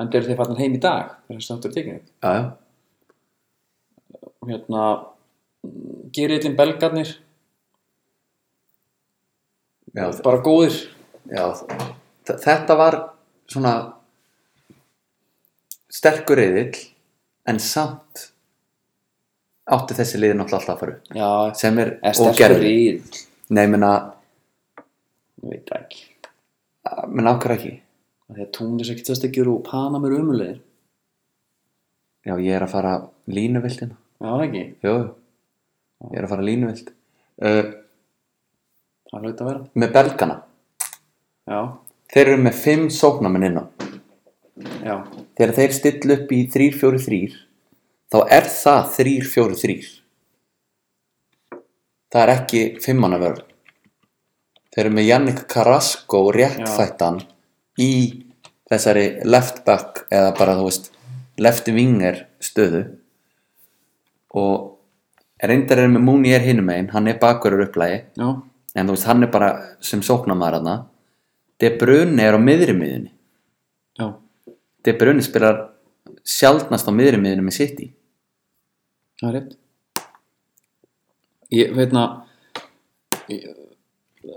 A: en þeir þeir farnar heim í dag, þegar þessi þáttur er tekinn upp.
B: já, já,
A: hérna gerillin belgarnir
B: já
A: bara góðir
B: Já, þ- þetta var svona sterkur reyðill en samt átti þessi liði náttúrulega alltaf að fara upp
A: já,
B: sem er
A: er
B: og
A: sterkur
B: gerði
A: ríð
B: Nei, menna,
A: ég veit það ekki,
B: menna okkar ekki
A: Af því að Túnis ekki tverstekjur og Panam eru umulegir
B: Já, ég er að fara línuviltina
A: já, það ekki,
B: Jó, ég er að fara línuvilt uh,
A: það er hlut að vera
B: Með belgana
A: já,
B: Þeir eru með fimm sóknamenn inn á
A: já,
B: Þegar þeir stilla upp í 3-4-3 þá er það 3-4-3 Það er ekki fimmannavörn Þeir eru með Jannik Carrasco réttfættan í þessari left back eða bara þú veist left winger stöðu og reyndar er með Mounier hinum einn, hann er bakurur upplægi
A: já,
B: en þú veist hann er bara sem sóknamaður hann De Bruyne er á miðri miðunni
A: já
B: De Bruyne spilar sjaldnast á miðri miðinu með City
A: það er rétt ég veit na ég-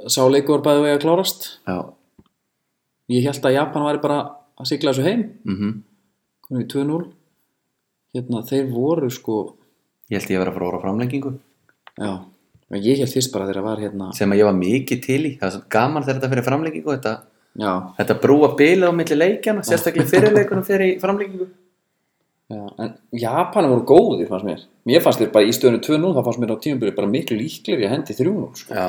A: sá leikur var bæði vegi að klárast
B: Já,
A: ég held að Japan væri bara að sigla þessu heim
B: mm
A: komum við 2-0 hérna, þeir voru sko
B: ég held ég að vera að fara að horfa á framlengingu
A: já, ég held fyrst bara þegar var hérna
B: sem að ég var mikið til í, það var svo gaman þegar þetta fyrir framlengingu þetta,
A: já,
B: þetta brúa bilið á milli leikjana, sérstaklega fyrirleikunum fyrir í framlengingu
A: Já, en Japan voru góðir fannst mér Mér fannst þeir bara í stöðunni 2-0 þá fannst mér á tímabili bara miklu líklegri að hendi 3-0 sko.
B: Já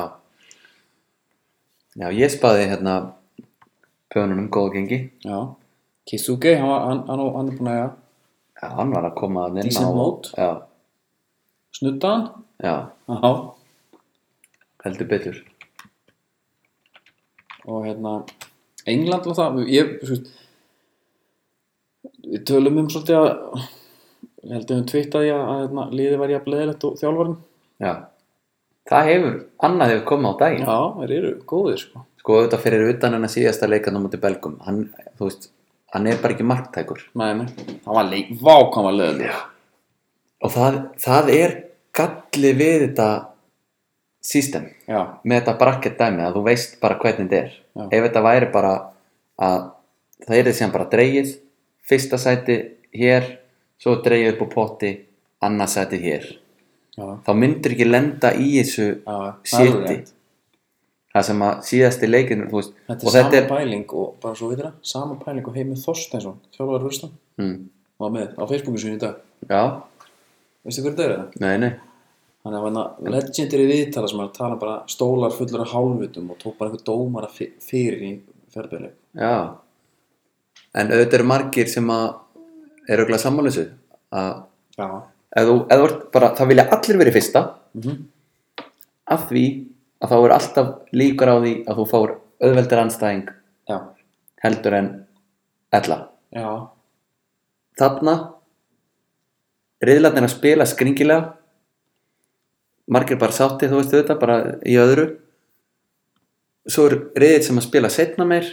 B: Já, ég spaði hérna pönunum góða gengi
A: Já Kisuke, hann, var, hann, hann, hann er búin að eiga
B: Já, hann var að koma að
A: Decent mót.
B: Já,
A: snudda hann
B: já,
A: Já
B: heldur betur
A: Og hérna England var það Ég, svo veist Við tölum um svolítið að Ég held að hún tvittaði að, að hérna, liðið var jafn leðilegt og þjálfarinn
B: Já Það hefur, annað hefur komið á daginn
A: Já, þeir eru góðir sko
B: sko auðvitað fyrir utan hennar síðasta leikan á móti belgum, hann, þú veist hann er bara ekki marktækur
A: Nei, nei Það var leik, vákvæm var leðileg
B: og það, það er galli við þetta system,
A: Já,
B: með þetta bracket dæmi að þú veist bara hvernig þetta er
A: Já.
B: ef þetta væri bara að það er þessi hann bara dreigið fyrsta sæti hér svo dreigið upp á potti annað sæti hér
A: já,
B: þá myndir ekki lenda í þessu
A: já það er alveg
B: sétti
A: rétt.
B: það sem að síðasti leikin þú veist,
A: Þetta er
B: og þetta
A: sama
B: er
A: pæling og bara svo við þetta sama pæling og heimir Þorsteinsson þjálfur Rústam
B: mm,
A: var með á Facebooku sinni í dag
B: já,
A: veistu hverju þetta er það?
B: nei, nei
A: Hann er hérna legendary viðtala sem er að tala bara stólar fullur af hálfutum og tók bara einhver dómara fi- fyrir í ferðbyrli
B: Já En auðvitað eru margir sem að eru auðvitað sammálusu að
A: Já
B: ef þú, ef þú ert bara, það vilja allir verið fyrsta
A: Mhm.
B: af því að þá eru alltaf líkur á því að þú fáir auðveldir anstæðing
A: Já
B: heldur en ella
A: Já
B: Þarna riðlarnir að spila skringilega margir bara sátti þú veist auðvitað, bara í öðru svo er riðið sem að spila setna meir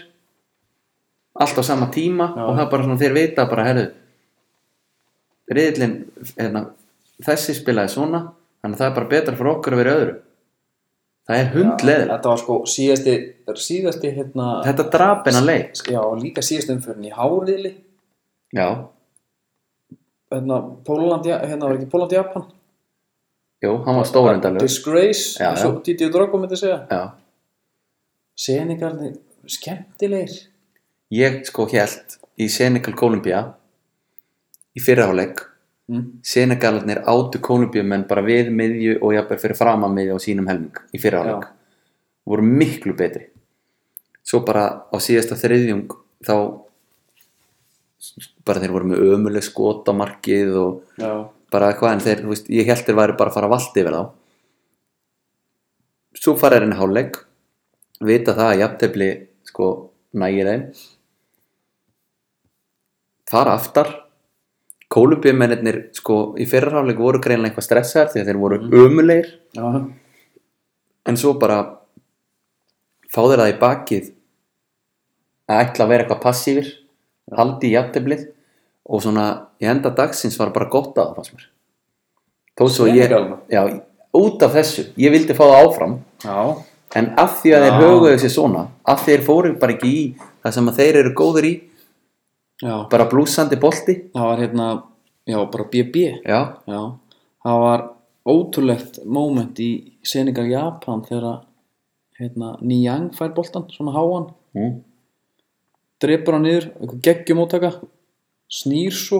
B: allt á sama tíma
A: Já.
B: og það er bara svona þeir vita bara herðu riðlinn hérna, þessi spilaði svona þannig að það er bara betra fyrir okkur að vera í öðru það er hundleður
A: Þetta var sko síðasti síðasti hérna
B: þetta drapina leik
A: Já, líka síðast umfyrin í Háriðli
B: já,
A: hérna Póland, hérna var ekki Póland Japan
B: jú, hann var stórendalur
A: Disgrace,
B: Já,
A: eins og Didi Drogo myndi segja
B: já
A: Senegalni, skemmtilegir
B: ég sko held í Senegal Kolumbia í fyrirháleik
A: Mm.
B: Senegalarnir átu Kolumbíumenn bara við miðju og jafnvel fyrir framan miðju á sínum helming í fyrra
A: Já.
B: áleik voru miklu betri svo bara á síðasta þriðjung þá bara þeir voru með ömuleg skotamarkið og
A: Já.
B: bara hvað en þeir, þú veist, ég held þeir væri bara að fara að valdi yfir þá svo fara þeir inn í hálfleik vita það að jafntefli sko nægir þeim fara aftar kólubjumennir sko í fyrra hálfleik voru greinlega eitthvað stressaðar því að þeir voru ömulegir
A: Já.
B: en svo bara fá þeir það í bakið að ætla að vera eitthvað passífir haldi í jafnteflið og svona í enda dagsins var bara gott að það fannst mér þó svo ég
A: Senegalana?
B: já, út af þessu, ég vildi fá það áfram
A: Já.
B: en af því að þeir
A: Já.
B: höguðu sér svona af því þeir fóru bara ekki í það sem að þeir eru góður í
A: Já.
B: bara blúsandi bolti
A: Það var hérna, já, bara BB.
B: já,
A: Já, það var ótrúlegt moment í seningar Japan þegar hérna, Niang fær boltan, svona háan
B: mm.
A: drepur hann niður, einhver geggjum átaka snýr svo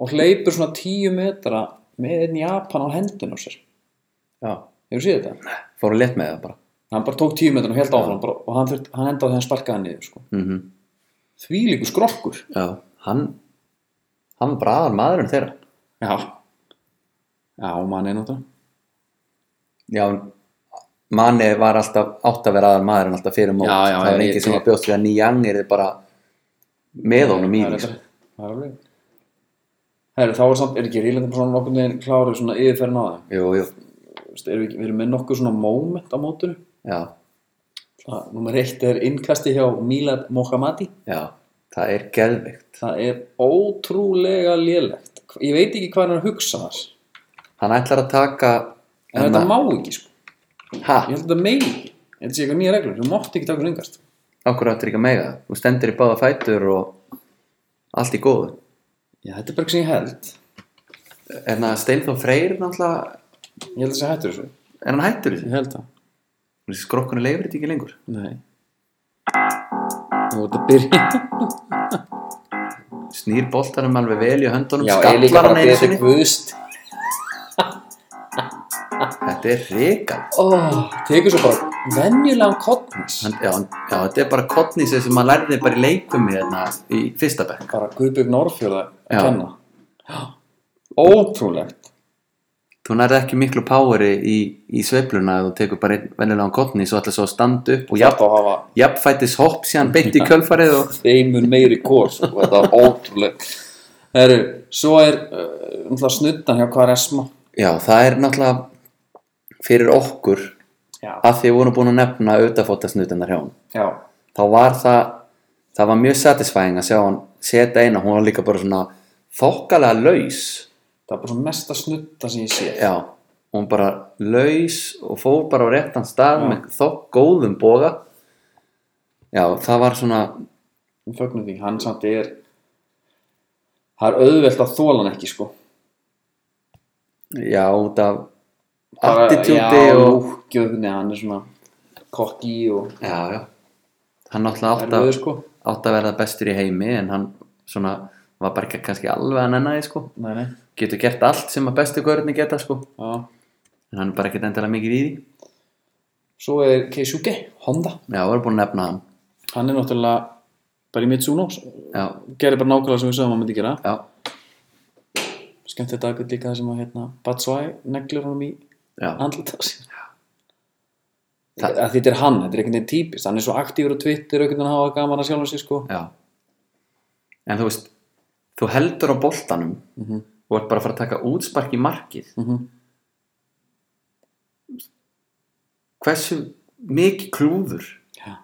A: og hleypur svona tíu metra með einn Japan á hendun á sér
B: já.
A: hefur séð þetta?
B: fóru létt með það bara
A: hann bara tók tíu metra og held áfram bara, og hann, þurft, hann endaði þegar hann sparkaði hann niður sko.
B: mm -hmm.
A: þvílíku skrokkur
B: já, hann hann braðar maðurinn þeirra
A: já, já, mann er náttúrulega
B: Já, manni var alltaf átt að vera aðal maður en alltaf fyrir mót
A: Já, já,
B: það var
A: ég-
B: engin sem
A: ég-
B: var bjóst við að Nýjang er bara með honum í
A: Það er
B: því sko.
A: reyndar- Það er alveg Herru, þá er samt, er ekki Rílandin bara svona nokkur neginn klárið svona yfirferðin á það
B: Jú, jú,
A: Vist, erum við, ekki- við erum með nokkur svona moment á mótinu
B: já,
A: það, Númer eitt er innkasti hjá Milad Mohamadi
B: já það er geðvikt
A: Það er ótrúlega lélegt Hva- Ég veit ekki hvað hann er að hugsa þar
B: Hann ætlar að taka hérna-
A: En þetta má ekki, sko
B: Ha,
A: Ég held að þetta megi ekki. Þetta sé eitthvað nýja reglur, þú mátt ekki taka þessu innkast
B: okkur áttur ekki að mega það. Þú stendur í báða fætur og allt í góðu
A: Já, þetta er bara ekki sem ég held
B: En það Steinþór Freyr náttúrulega
A: Ég held að þessi hættur þessu
B: er hann hættur í því?
A: Ég held það
B: Þessi skrokkunni leifir þetta ekki lengur
A: Nei Þú ert að byrja
B: Snýr boltanum alveg vel í höndunum
A: Já, ég líka bara
B: Skallar hann einu
A: betur
B: sinni
A: guðst
B: Þetta er reikal
A: oh, tekur svo bara venjulegan kottnis
B: hann, já, hann- já, þetta er bara kottnís sem maður lærði bara í leikum í, hérna, í fyrsta bekk
A: bara Guðbjörg Norrfjörða
B: Já.
A: að kenna ótrúlegt
B: þú nærði ekki miklu poweri í, í sveifluna ef þú tekur bara einn venjulegan kottnís og ætlar svo að standa upp og
A: þetta
B: jafn,
A: að hafa
B: jafnfætis hopp síðan beint í kjölfarið og
A: þeimur meiri kors og þetta er ótrúlegt Heru, svo er uh, um, snuttan hjá Kvaresma
B: já, það er náttúrulega fyrir okkur
A: já,
B: að því við vorum búin að nefna auðafótasnutinnar hjá hann
A: já,
B: þá var það það var mjög satisfæðing að sjá hann setja eina, hún var líka bara svona þokkalega laus
A: það er bara svona mesta snutta sem ég sé
B: Já, og hún bara laus og fór bara á réttan stað með þokk góðum boga Já, það var svona
A: við fögnum því, hann samt er það er auðvelt að þóla hann ekki sko
B: já, út af
A: Bara-
B: attitúti
A: já,
B: og
A: lúkjöfni, hann er svona kokki og
B: Já, já Hann náttúrulega átt að,
A: erfiður sko
B: átt að verða bestur í heimi en hann svona var bara ekki kannski alveg að nenna því sko
A: nei, nei,
B: Getur gert allt sem að bestu görðni geta sko
A: já
B: en hann er bara ekkert endilega mikið í því
A: Svo er Keisuke, Honda
B: Já, við erum búin að nefna hann
A: Hann er náttúrulega bara í Mitsuno
B: Já,
A: Gerði bara nákvæmlega sem við sögum að myndi gera
B: já,
A: Skemmt þetta aðgjöld líka það sem að hérna Batsvæ neglur honum í
B: já
A: andlita sín
B: Það-
A: Að Þetta er hann, þetta er einhvern veginn típist Hann er svo aktífur á Twitter, einhvern veginn að hafa gaman að sjálfum sér sko
B: Já En þú veist Þú heldur á boltanum og ert bara að fara að taka útspark í markið
A: Mhm.
B: Hversu mikið klúður
A: Já.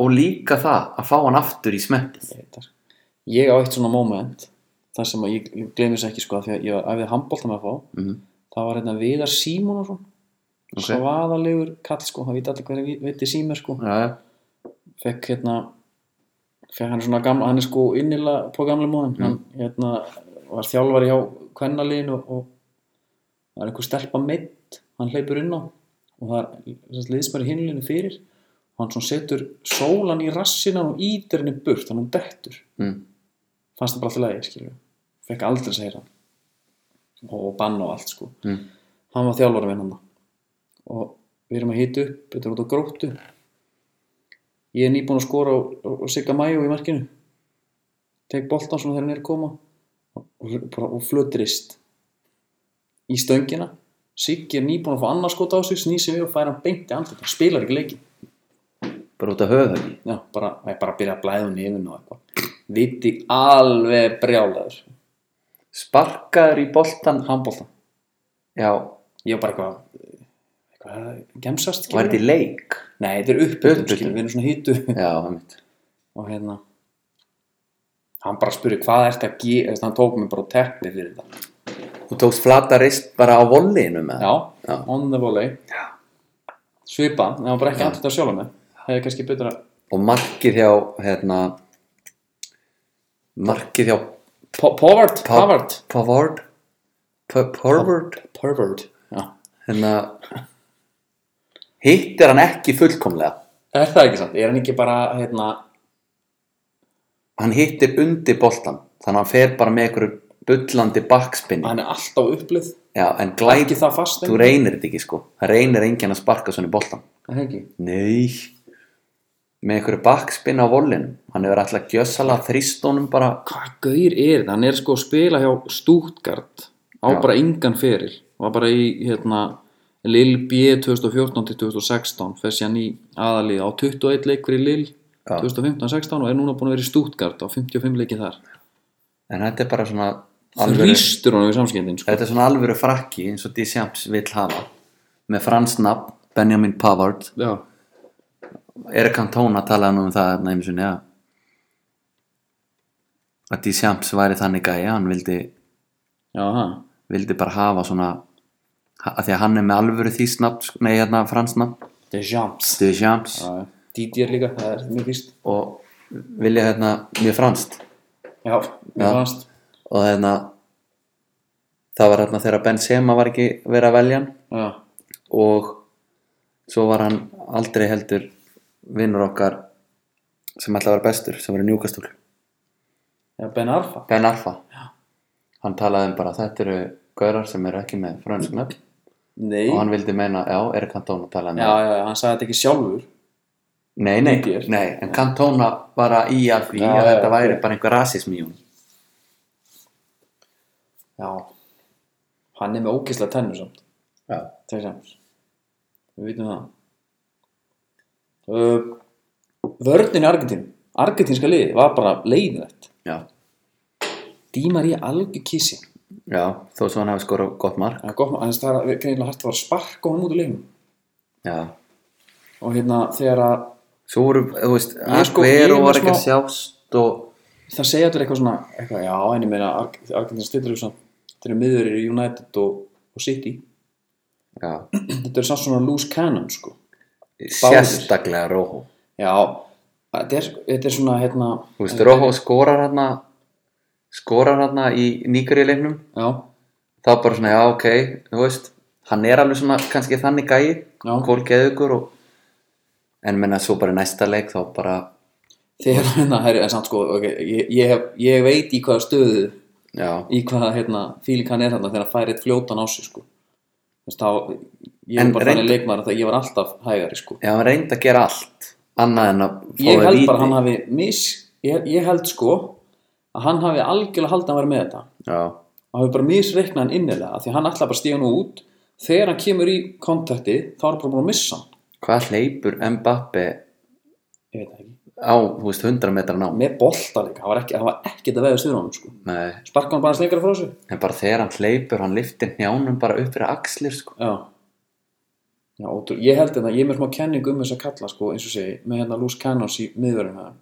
B: og líka það að fá hann aftur í smettið
A: Ég veit það. sko. Ég á eitt svona moment þar sem að ég gleymis ekki sko af Því að ég var æfið handbólta með að fá
B: mm -hmm.
A: Það var hérna Viðar Símonarsson
B: Ok.
A: Svaðalegur kall sko, það vita allir hvernig viti símer sko
B: Já, já,
A: fekk hérna fekk hann er svona gamla, hann er sko innilega på gamla móðin, hann hérna var þjálfari hjá kvennaliðinu og, og það er einhver stelpa meitt hann hleypur inn á og það er liðsmæri hinliðinu fyrir og hann svona setur sólan í rassina og ítir henni burt, þannig hún dettur
B: mm.
A: fannst það bara alltaf lægi, skilju fekk aldrei að segja hann og bann og allt sko
B: Mm.
A: hann var þjálfari minn hann og við erum að hita upp, þetta er út á gróttu ég er nýbúin að skora og, og, og sigga mæju í markinu tek boltan svona þegar hann er að koma og, og, og flötrist í stöngina Siggi er nýbúin að fá annarskota á sig snýsi við og færa hann beint í andlut hann spilar ekki leikin
B: bara út af höfðhöggi
A: Já, bara, það er bara að byrja að blæða nefn og eitthvað Viti alveg brjálaður
B: sparkaður í boltan
A: Handbólta
B: já,
A: Ég var bara eitthvað Eitthvað gemsast
B: var þetta í leik
A: Nei, þetta er uppbytun
B: Upphitun.
A: skilur, Við erum svona hýtu
B: já, einmitt
A: [laughs] Og hérna Hann bara spurði hvað ertu að gera Þannig hann tók mig bara á teppi fyrir þetta
B: þú tókst flata reist bara á vollinu með
A: Já,
B: Já.
A: on the volley Já Svipa, en hann var bara ekki andlut að sjálfa mig Það er kannski betur að
B: og markið hjá hérna, markið hjá
A: Po- Povard,
B: Pa-
A: Povard
B: Pavard Pa- Pavard
A: Pervert Já
B: hérna hittir hann ekki fullkomlega
A: Er það ekki sant? Er hann ekki bara, hérna
B: hann hittir undir boltan þannig að hann fer bara með einhverju bullandi bakspinni
A: Hann er alltaf upplið
B: já, en
A: Ekki
B: glæði
A: það fast
B: þú reynir þetta ekki sko það reynir enginn að sparka svona í boltan
A: Það er ekki
B: nei með einhverju bakspinn á vollinum hann hefur alltaf gjössalega þrýst honum bara
A: hvað gaur er þetta, hann er sko að spila hjá Stuttgart á
B: Já.
A: bara engan feril var bara í hérna Lille B 2014-2016 fessi hann í aðalið á 21 leik fyrir Lille
B: Já.
A: 2015-16 og er núna búin að vera í Stuttgart á 55 leiki þar
B: en þetta er bara svona alvöru,
A: þrýstur hann við samskiptin sko.
B: þetta er svona alvöru frakki eins og Deschamps vill hafa með fransnapp Benjamin Pavard
A: já,
B: Erik Cantona talaði nú um það nefnum sinni að að Deschamps væri þannig gæja hann vildi
A: já, ha.
B: vildi bara hafa svona að því að hann er með alvöru því snapp sko, nei hérna fransnapp
A: Deschamps
B: Deschamps
A: Já, Didier líka, það er mjög fyrst
B: og vilja hérna mjög franskt
A: já, mjög
B: Já.
A: fannst
B: og hérna það var hérna þegar Benzema var ekki verið að velja hann
A: já,
B: og svo var hann aldrei heldur vinnur okkar sem ætla að vera bestur sem var í njúkastúl
A: Já, Ben Arfa
B: Ben Arfa hann talaði um bara þetta eru gaurar sem eru ekki með fransk nöfn
A: nei,
B: og
A: já,
B: hann vildi meina, já, Erik Cantona talaði um
A: já, já, hann sagði þetta ekki sjálfur
B: Nei, nei,
A: Myndir.
B: nei, en Cantona var að í að því
A: Já,
B: að
A: já,
B: þetta
A: já.
B: væri bara einhver rasism í hún
A: já, hann er með ógislega tennur samt
B: Já,
A: Texans Við vitum það uh, Vörnin í Argentín Argentínska liði var bara leiðinlegt
B: já,
A: Dímar í algjör kísi
B: já þó svo hann hafi skorað gott mark
A: Það er gott, aðeins það er greinilega hægt að fara að sparka honum út úr leiðinu
B: Já,
A: og hérna þegar að
B: svo voru, þú veist,
A: Ég sko- ég
B: Aguero
A: er
B: var
A: með
B: ekki að
A: smá-
B: sjást og
A: það segja allir eitthvað svona eitthvað, já, en ég meina Ar- Argentín stillur þess að þeir eru miður í United og, og City
B: já,
A: þetta er samt svona loose cannon sko
B: sérstaklega Róhó
A: já, þetta er, þetta er svona hérna
B: Þú veist, Róhó skorar hann skorar hann í nýkarilegnum
A: já,
B: þá bara svona, já, ok, þú veist hann er alveg svona, kannski þannig gæi
A: Já.
B: kólgeðugur og en menna svo bara í næsta leik þá bara,
A: þegar [laughs] hérna, herri, en samt sko okay, ég, ég, hef, ég veit í hvaða stöðu
B: já
A: í hvaða hérna, fíling hann er þarna þegar hann fær eitt fljótan á sig sko. Þess, þá, ég er
B: En
A: bara
B: reynd-
A: þannig leikmaður að það- ég var alltaf hægari sko.
B: Já, hann reyndi að gera allt annað en að fá
A: ég
B: þau
A: held
B: víti.
A: bara að hann hafi mis ég, ég held sko að hann hafi algjörlega haldið að vera með þetta
B: Já,
A: og hafi bara misreiknað hann innilega af því að hann ætlaði bara að stíga nú út þegar hann kemur í kontakti þá er hann bara búin að missa hann
B: hvað hleypur Mbappe
A: ég veit það ekki,
B: á, þú veist, 100 metrar ná
A: með bolta líka það var ekki, það var ekki að veða stuðunum sko.
B: Nei,
A: sparka hann bara aðeins lengra frá sig
B: en bara þegar hann hleypur hann liftir njánum bara upp fyrir axlir sko.
A: Já Já, ótrú, ég held þetta, ég er með smá kenning um þess að kalla sko, eins og segi, með hérna Lús Cannons í miðverðum hérna.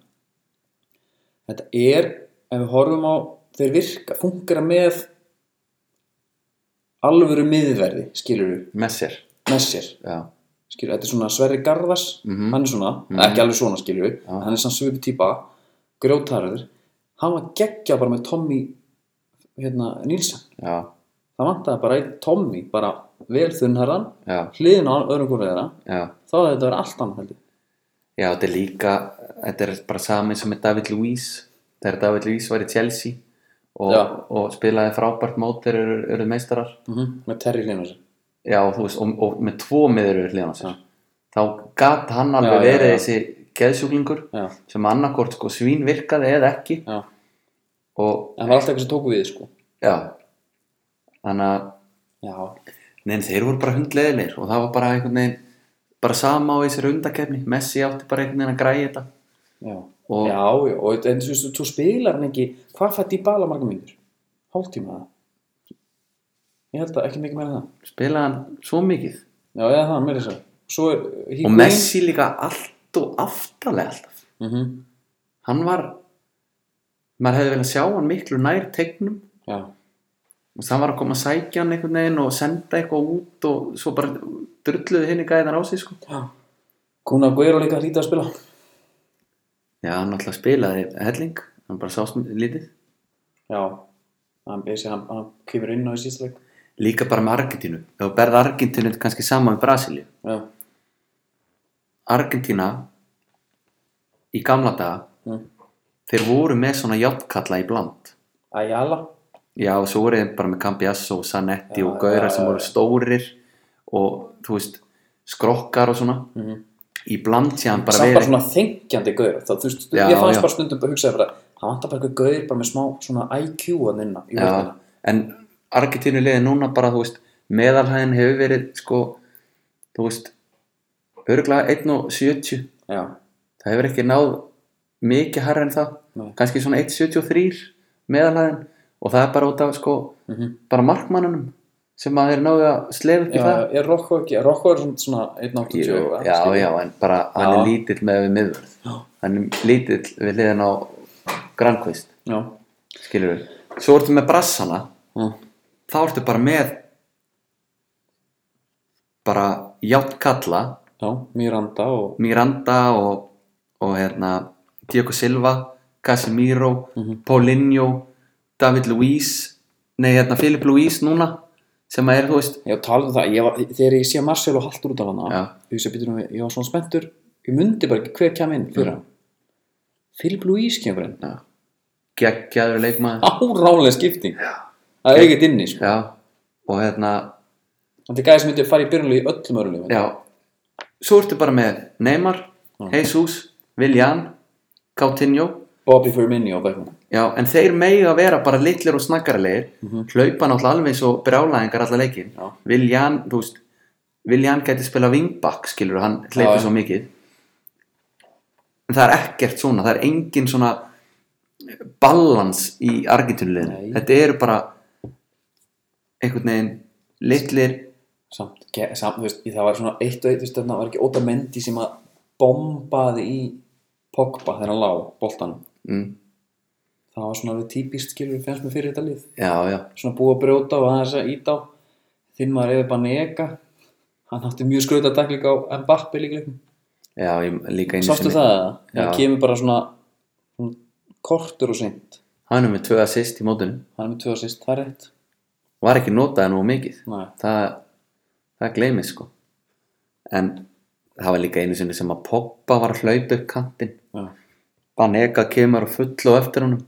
A: Þetta er, ef við horfum á þeir virka, fungera með alvöru miðverði, skilur við,
B: með sér
A: með sér
B: Já,
A: skilur, þetta er svona Sverri Garðars
B: Mhm.
A: hann er svona,
B: Mhm.
A: ekki alveg svona skilur við
B: Já.
A: hann er svona svipu típa, grjótarður hann var geggja bara með Tommy hérna, Nilsson
B: já,
A: það vantaði bara einn Tommy, bara vel þunnherran
B: já,
A: hliðin á öðrum hvort þeirra
B: já
A: þá hefði þetta verið allt annað held ég
B: Já, þetta er líka, þetta er bara sami sem með David Luiz þegar David Luiz var í Chelsea og,
A: Já.
B: og spilaði frábært mótir eru, eru meistarar
A: með Terry Linus
B: já, og, þú veist, og, og með tvo miður eru hlíðan á sér
A: Já.
B: þá gat hann alveg
A: Já, já,
B: verið
A: já.
B: þessi geðsjúklingur
A: já,
B: sem annarkort sko svín virkaði eða ekki
A: já,
B: og
A: en það var alltaf eitthvað sem tóku við sko
B: já þannig að
A: já,
B: Nein, þeir voru bara hundleðilegir og það var bara einhvern veginn bara sama á þessari undakefni Messi átti bara einhvern veginn að græja þetta
A: já,
B: og
A: já, já og en þú veist, þú spilar hann ekki hvað fætti í bala marga mínir? hálftíma eða? ég held að ekki mikið meira en það
B: spilaði hann svo mikið
A: já, eða það, meira þess að svo er
B: og Messi líka allt og aftalega alltaf
A: mm
B: hann var maður hefði vel að sjá hann miklu nær tegnum
A: já,
B: og það var að koma að sækja hann einhvern veginn og senda eitthvað út og svo bara drulluði henni gæðan á sig sko
A: já Kuna Guero líka lítið að spila
B: já, hann alltaf spilaði helling hann bara sást lítið
A: já, hann, þessi, hann, hann kemur inn á í síðsleik
B: líka bara með Argentínu ef þú berð Argentínu kannski saman með Brasilíu
A: já,
B: Argentína í gamla daga
A: mm.
B: þeir voru með svona játtkalla í bland
A: Ayala
B: já og svo voru þeir bara með Cambiasso og Zanetti
A: Já,
B: og Gaurar
A: já,
B: sem
A: já,
B: voru
A: já.
B: stórir og þú veist skrokkar og svona
A: mm -hmm.
B: í bland sé hann bara
A: samt bara
B: verið
A: svona þengjandi gaur það, þú veist,
B: Já,
A: ég fannst
B: já.
A: bara stundum að hugsa bara, það vantar bara eitthvað gaur bara með smá svona IQ að nynna í
B: já,
A: vörðina
B: en Argentínu liði núna bara þú veist meðalhæðin hefur verið sko þú veist örgulega 1 og 70
A: já,
B: það hefur ekki náð mikið harra en það
A: Nei.
B: kannski svona 1.73 meðalhæðin og það er bara út af sko
A: Mhm.
B: bara markmannunum sem að þeir náðu að slefa upp í
A: já
B: það
A: er Rocco ekki Rocco er svona- svona 1.80
B: Jú, já, já, en bara hann
A: Já.
B: er lítill með við miðvörð
A: Já.
B: hann er lítill við liðan á Grankvist,
A: já,
B: skilur við svo ertu með brassana
A: Mm.
B: þá ertu bara með bara Játt Kalla
A: já, Miranda og
B: Miranda og, og hérna, Diego Silva, Casemiro,
A: Mhm.
B: Paulinho, David Luiz, nei hérna Filip Luiz núna sem að er, þú veist,
A: já, talaðu um það, ég var, þegar ég sé Marcelo haldur út af hana
B: Já.
A: ég, sé, býtum, ég var svona spenntur ég mundi bara ekki hver kem inn fyrir hann Philip Luís kemur inn
B: geggjaður leikmaður,
A: árálega skipting það er ekkert inni, sko
B: já, og hérna,
A: þetta er gæði sem myndi fara í byrjunlu í öllum örlum
B: já, svo ertu bara með Neymar, Jesus, Viljan, Coutinho,
A: Bobby Firmino og Beckham
B: já, en þeir mega vera bara litlir og snaggaralegir, hlaupa náttúrulega alveg eins og brjálæðingar alla leikin,
A: Já.
B: Viljan, þú veist Viljan gæti spila wingback skilur, hann hleypur
A: Já.
B: svo mikið en það er ekkert svona það er engin svona balans í
A: Nei.
B: Argentinulinu þetta eru bara einhvern veginn litlir
A: samt, ge- samt þú veist, það var svona eitt og eitt, þú veist, þarna var ekki Óta Mendi sem að bombaði í Pogba þegar hann lág boltanum
B: mm,
A: það var svona alveg típist skilur fennst mér fyrir þetta lið
B: já, já,
A: svona búið að brjóta og aðeins að íta á þinn maður eða bara neka hann átti mjög skröta daglik á Mbappi líka
B: já, ég, líka einu
A: sáttu það eða?
B: Já.
A: hann kemur bara svona, svona kortur og seint
B: hann er með tvö assist í mótunum
A: hann er með tvö assist, það er rétt
B: var ekki notaði nú mikið
A: Nei.
B: það, það gleymis sko en það var líka einu sinni sem að Pogba var að hlaupa upp kantinn
A: Já.
B: Banega kemur á fullu á eftir honum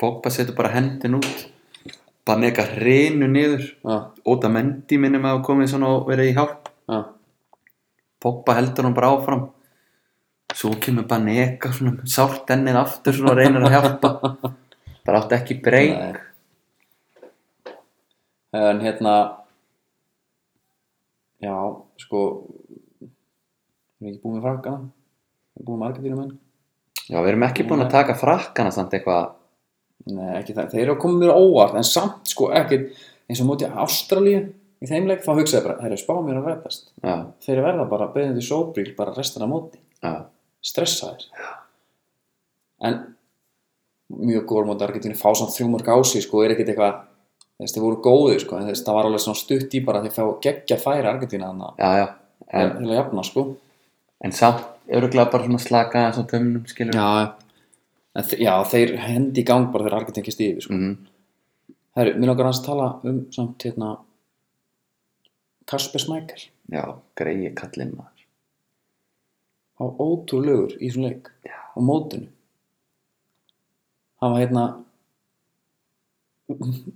B: Pogba setur bara hendin út Banega reynu niður
A: Já.
B: Óta Mendi minnum að hafa komið svona og verið í hjálp
A: Já.
B: Pogba heldur hann bara áfram Svo kemur Banega svona með sárt ennið aftur svona og reynir að hjálpa Bara átti ekki breyk
A: Nei. en hérna já, sko við erum ekki búið með frakkana við erum búið með margatýrum enn
B: Já, við erum ekki búin að taka frakkana samt eitthvað
A: Nei, ekki það, þeir eru að koma mér á óvart en samt sko ekkert eins og móti Ástralíu í þeimleik þá hugsaði ég bara, þeir eru spá mér að verðast
B: Já,
A: þeir eru verða bara beðandi sóbríl bara restina af móti,
B: já,
A: stressaðir en mjög góður móti Argentínu fá samt þrjúmörk á sig sko, er ekkert eitthvað þess, þeir voru góðir sko, en þess, það var alveg svona stutt í bara þeir fá geggja færi Argentínu hann
B: já, já En,
A: til að jafna sko
B: en samt, öruglega bara svona slaka aðeins á tömnum skilur
A: já, en, þe- já þeir hendi í gang bara þegar Argentínu kist yfir sko
B: mm,
A: Herru, mér langar aðeins að tala um samt hérna Kasper Smækjál
B: já greiði kallinn maður
A: á ótrúlegur í svona leik
B: Já.
A: á mótinu hann var hérna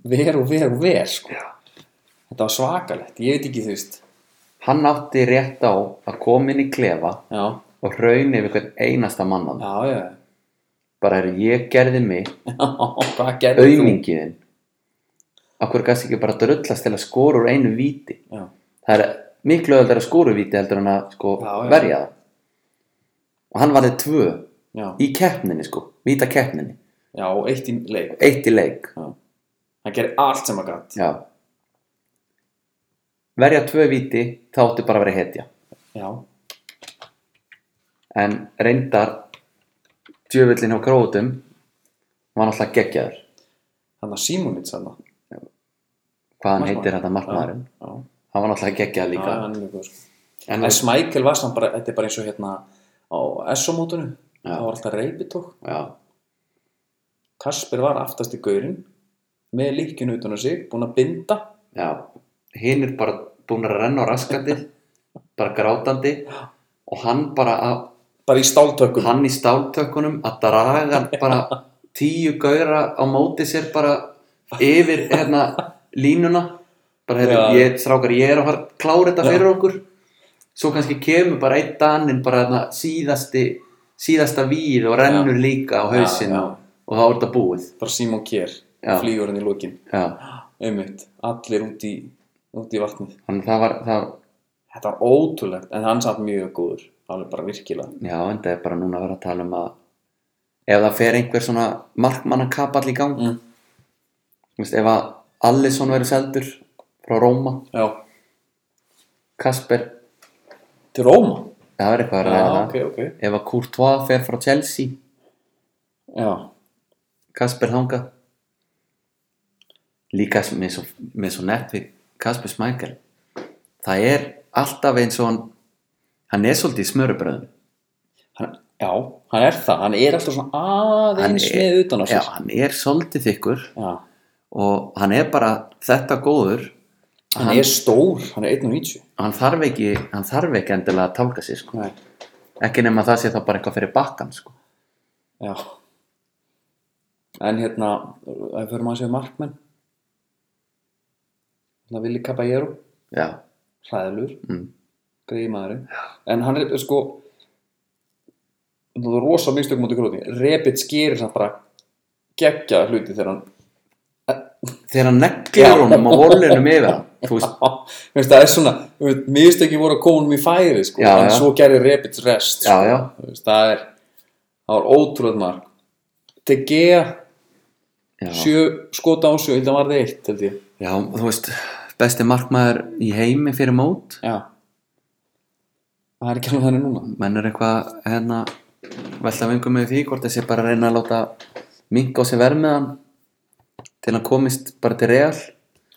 A: ver og ver og ver sko. þetta var svakalegt, ég veit ekki þú veist
B: Hann átti rétt á að koma inn í klefa
A: já,
B: og raun yfir hvern einasta mannan.
A: já, já, [laughs]
B: Bara er ég gerði mig,
A: já hvað gerði
B: auðningiðin. Akkur gæst ekki bara drullast til að skora úr einu víti.
A: þú já,
B: Það er miklu öðvöldar að skora úr víti heldur en að sko
A: Já, já.
B: verja það. Og hann varði tvö
A: já,
B: í keppninni sko, víta keppninni.
A: já, og eitt í leik
B: Eitt í leik.
A: já. hann gerði allt sem að gatt
B: Já. Verja tvö víti, þá áttu bara að vera hetja.
A: já,
B: En reyndar, djöfullin á krótum, var náttúrulega geggjaður.
A: hann að Simonits hann
B: Hvað hann
A: Markmaður.
B: heitir þetta markmaðurinn.
A: já,
B: Hann var náttúrulega geggjaður
A: já,
B: líka.
A: hann er mjög góð sko.
B: En
A: en Smækel var samt bara, þetta er bara eins og hérna á SO-mótunum
B: Já.
A: það var alltaf reypitók
B: já,
A: Kasper var aftast í gaurinn með líkjunu utan á sig, búinn að binda
B: já. Hinn er bara búin að renna á raskandi, bara grátandi. Og hann bara, að,
A: bara í stáltökum
B: hann í stáltökkunum að draga bara tíu gauðra á móti sér bara yfir hérna línuna. Bara, heyrðu,
A: Já.
B: ég, strákar, ég er að fara að klára þetta fyrir okkur. Svo kannski kemur bara einn daninn bara hérna síðasti, síðasta víð og rennur líka á
A: Já,
B: hausinn
A: já.
B: og, og þá er þetta búið.
A: bara Simon Kjær,
B: Já.
A: flýgur hann í lokin
B: Já.
A: einmitt, allir út í út í vatnið,
B: Þannig það var, það var,
A: þetta var ótrúlegt en hann satt mjög góður, alveg bara virkilega
B: já, en það er bara núna að vera að tala um að ef það fer einhver svona markmannakapall í gang,
A: Mm.
B: þú veist, ef að Allison verið seldur frá Róma,
A: já,
B: Kasper,
A: til Róma
B: það verið eitthvað að
A: já,
B: ræða það.
A: ok, ok
B: Ef að Courtois fer frá Chelsea,
A: já,
B: Kasper þanga, líka s- með svo, með svo nett við Kasper Smækjel, það er alltaf eins og hann, hann er svolítið í smörubröðum.
A: hann, já, hann er það hann er alltaf svona aðeins
B: Hann er-
A: með utan á
B: Já,
A: sér
B: hann er svolítið þykkur.
A: já,
B: og hann er bara þetta góður
A: hann, er stór, hann er 1.90
B: hann þarf ekki, hann þarf ekki endilega að tálka sér sko.
A: Nei.
B: ekki nema það sé þá bara eitthvað fyrir bakkan sko.
A: já en hérna, ef fyrir maður séu markmenn þannig að Vili Caballero
B: já,
A: hræðlur
B: mm.
A: greiði maðurinn en hann er sko það er rosa mistökum á gróti Rebic gerir samt bara geggja hluti þegar hann
B: þegar hann neglir honum og volunum yfir [laughs] hann þú veist,
A: Þú veist, það er svona þú veist, mistökin voru að koma um í færi sko,
B: Já,
A: en
B: já.
A: svo gerir Rebic rest
B: já,
A: sko.
B: já,
A: Þú veist, það er það var ótrúlega marg til Gea
B: já.
A: sjö skota á sjö, þetta var það eitt held ég
B: já, þú veist besti markmaður í heimi fyrir mót
A: já það er ekki alveg þannig núna
B: menn er eitthvað hérna velta vingum með því hvort þessi bara að reyna að láta minka á sig vermiðan til hann komist bara til real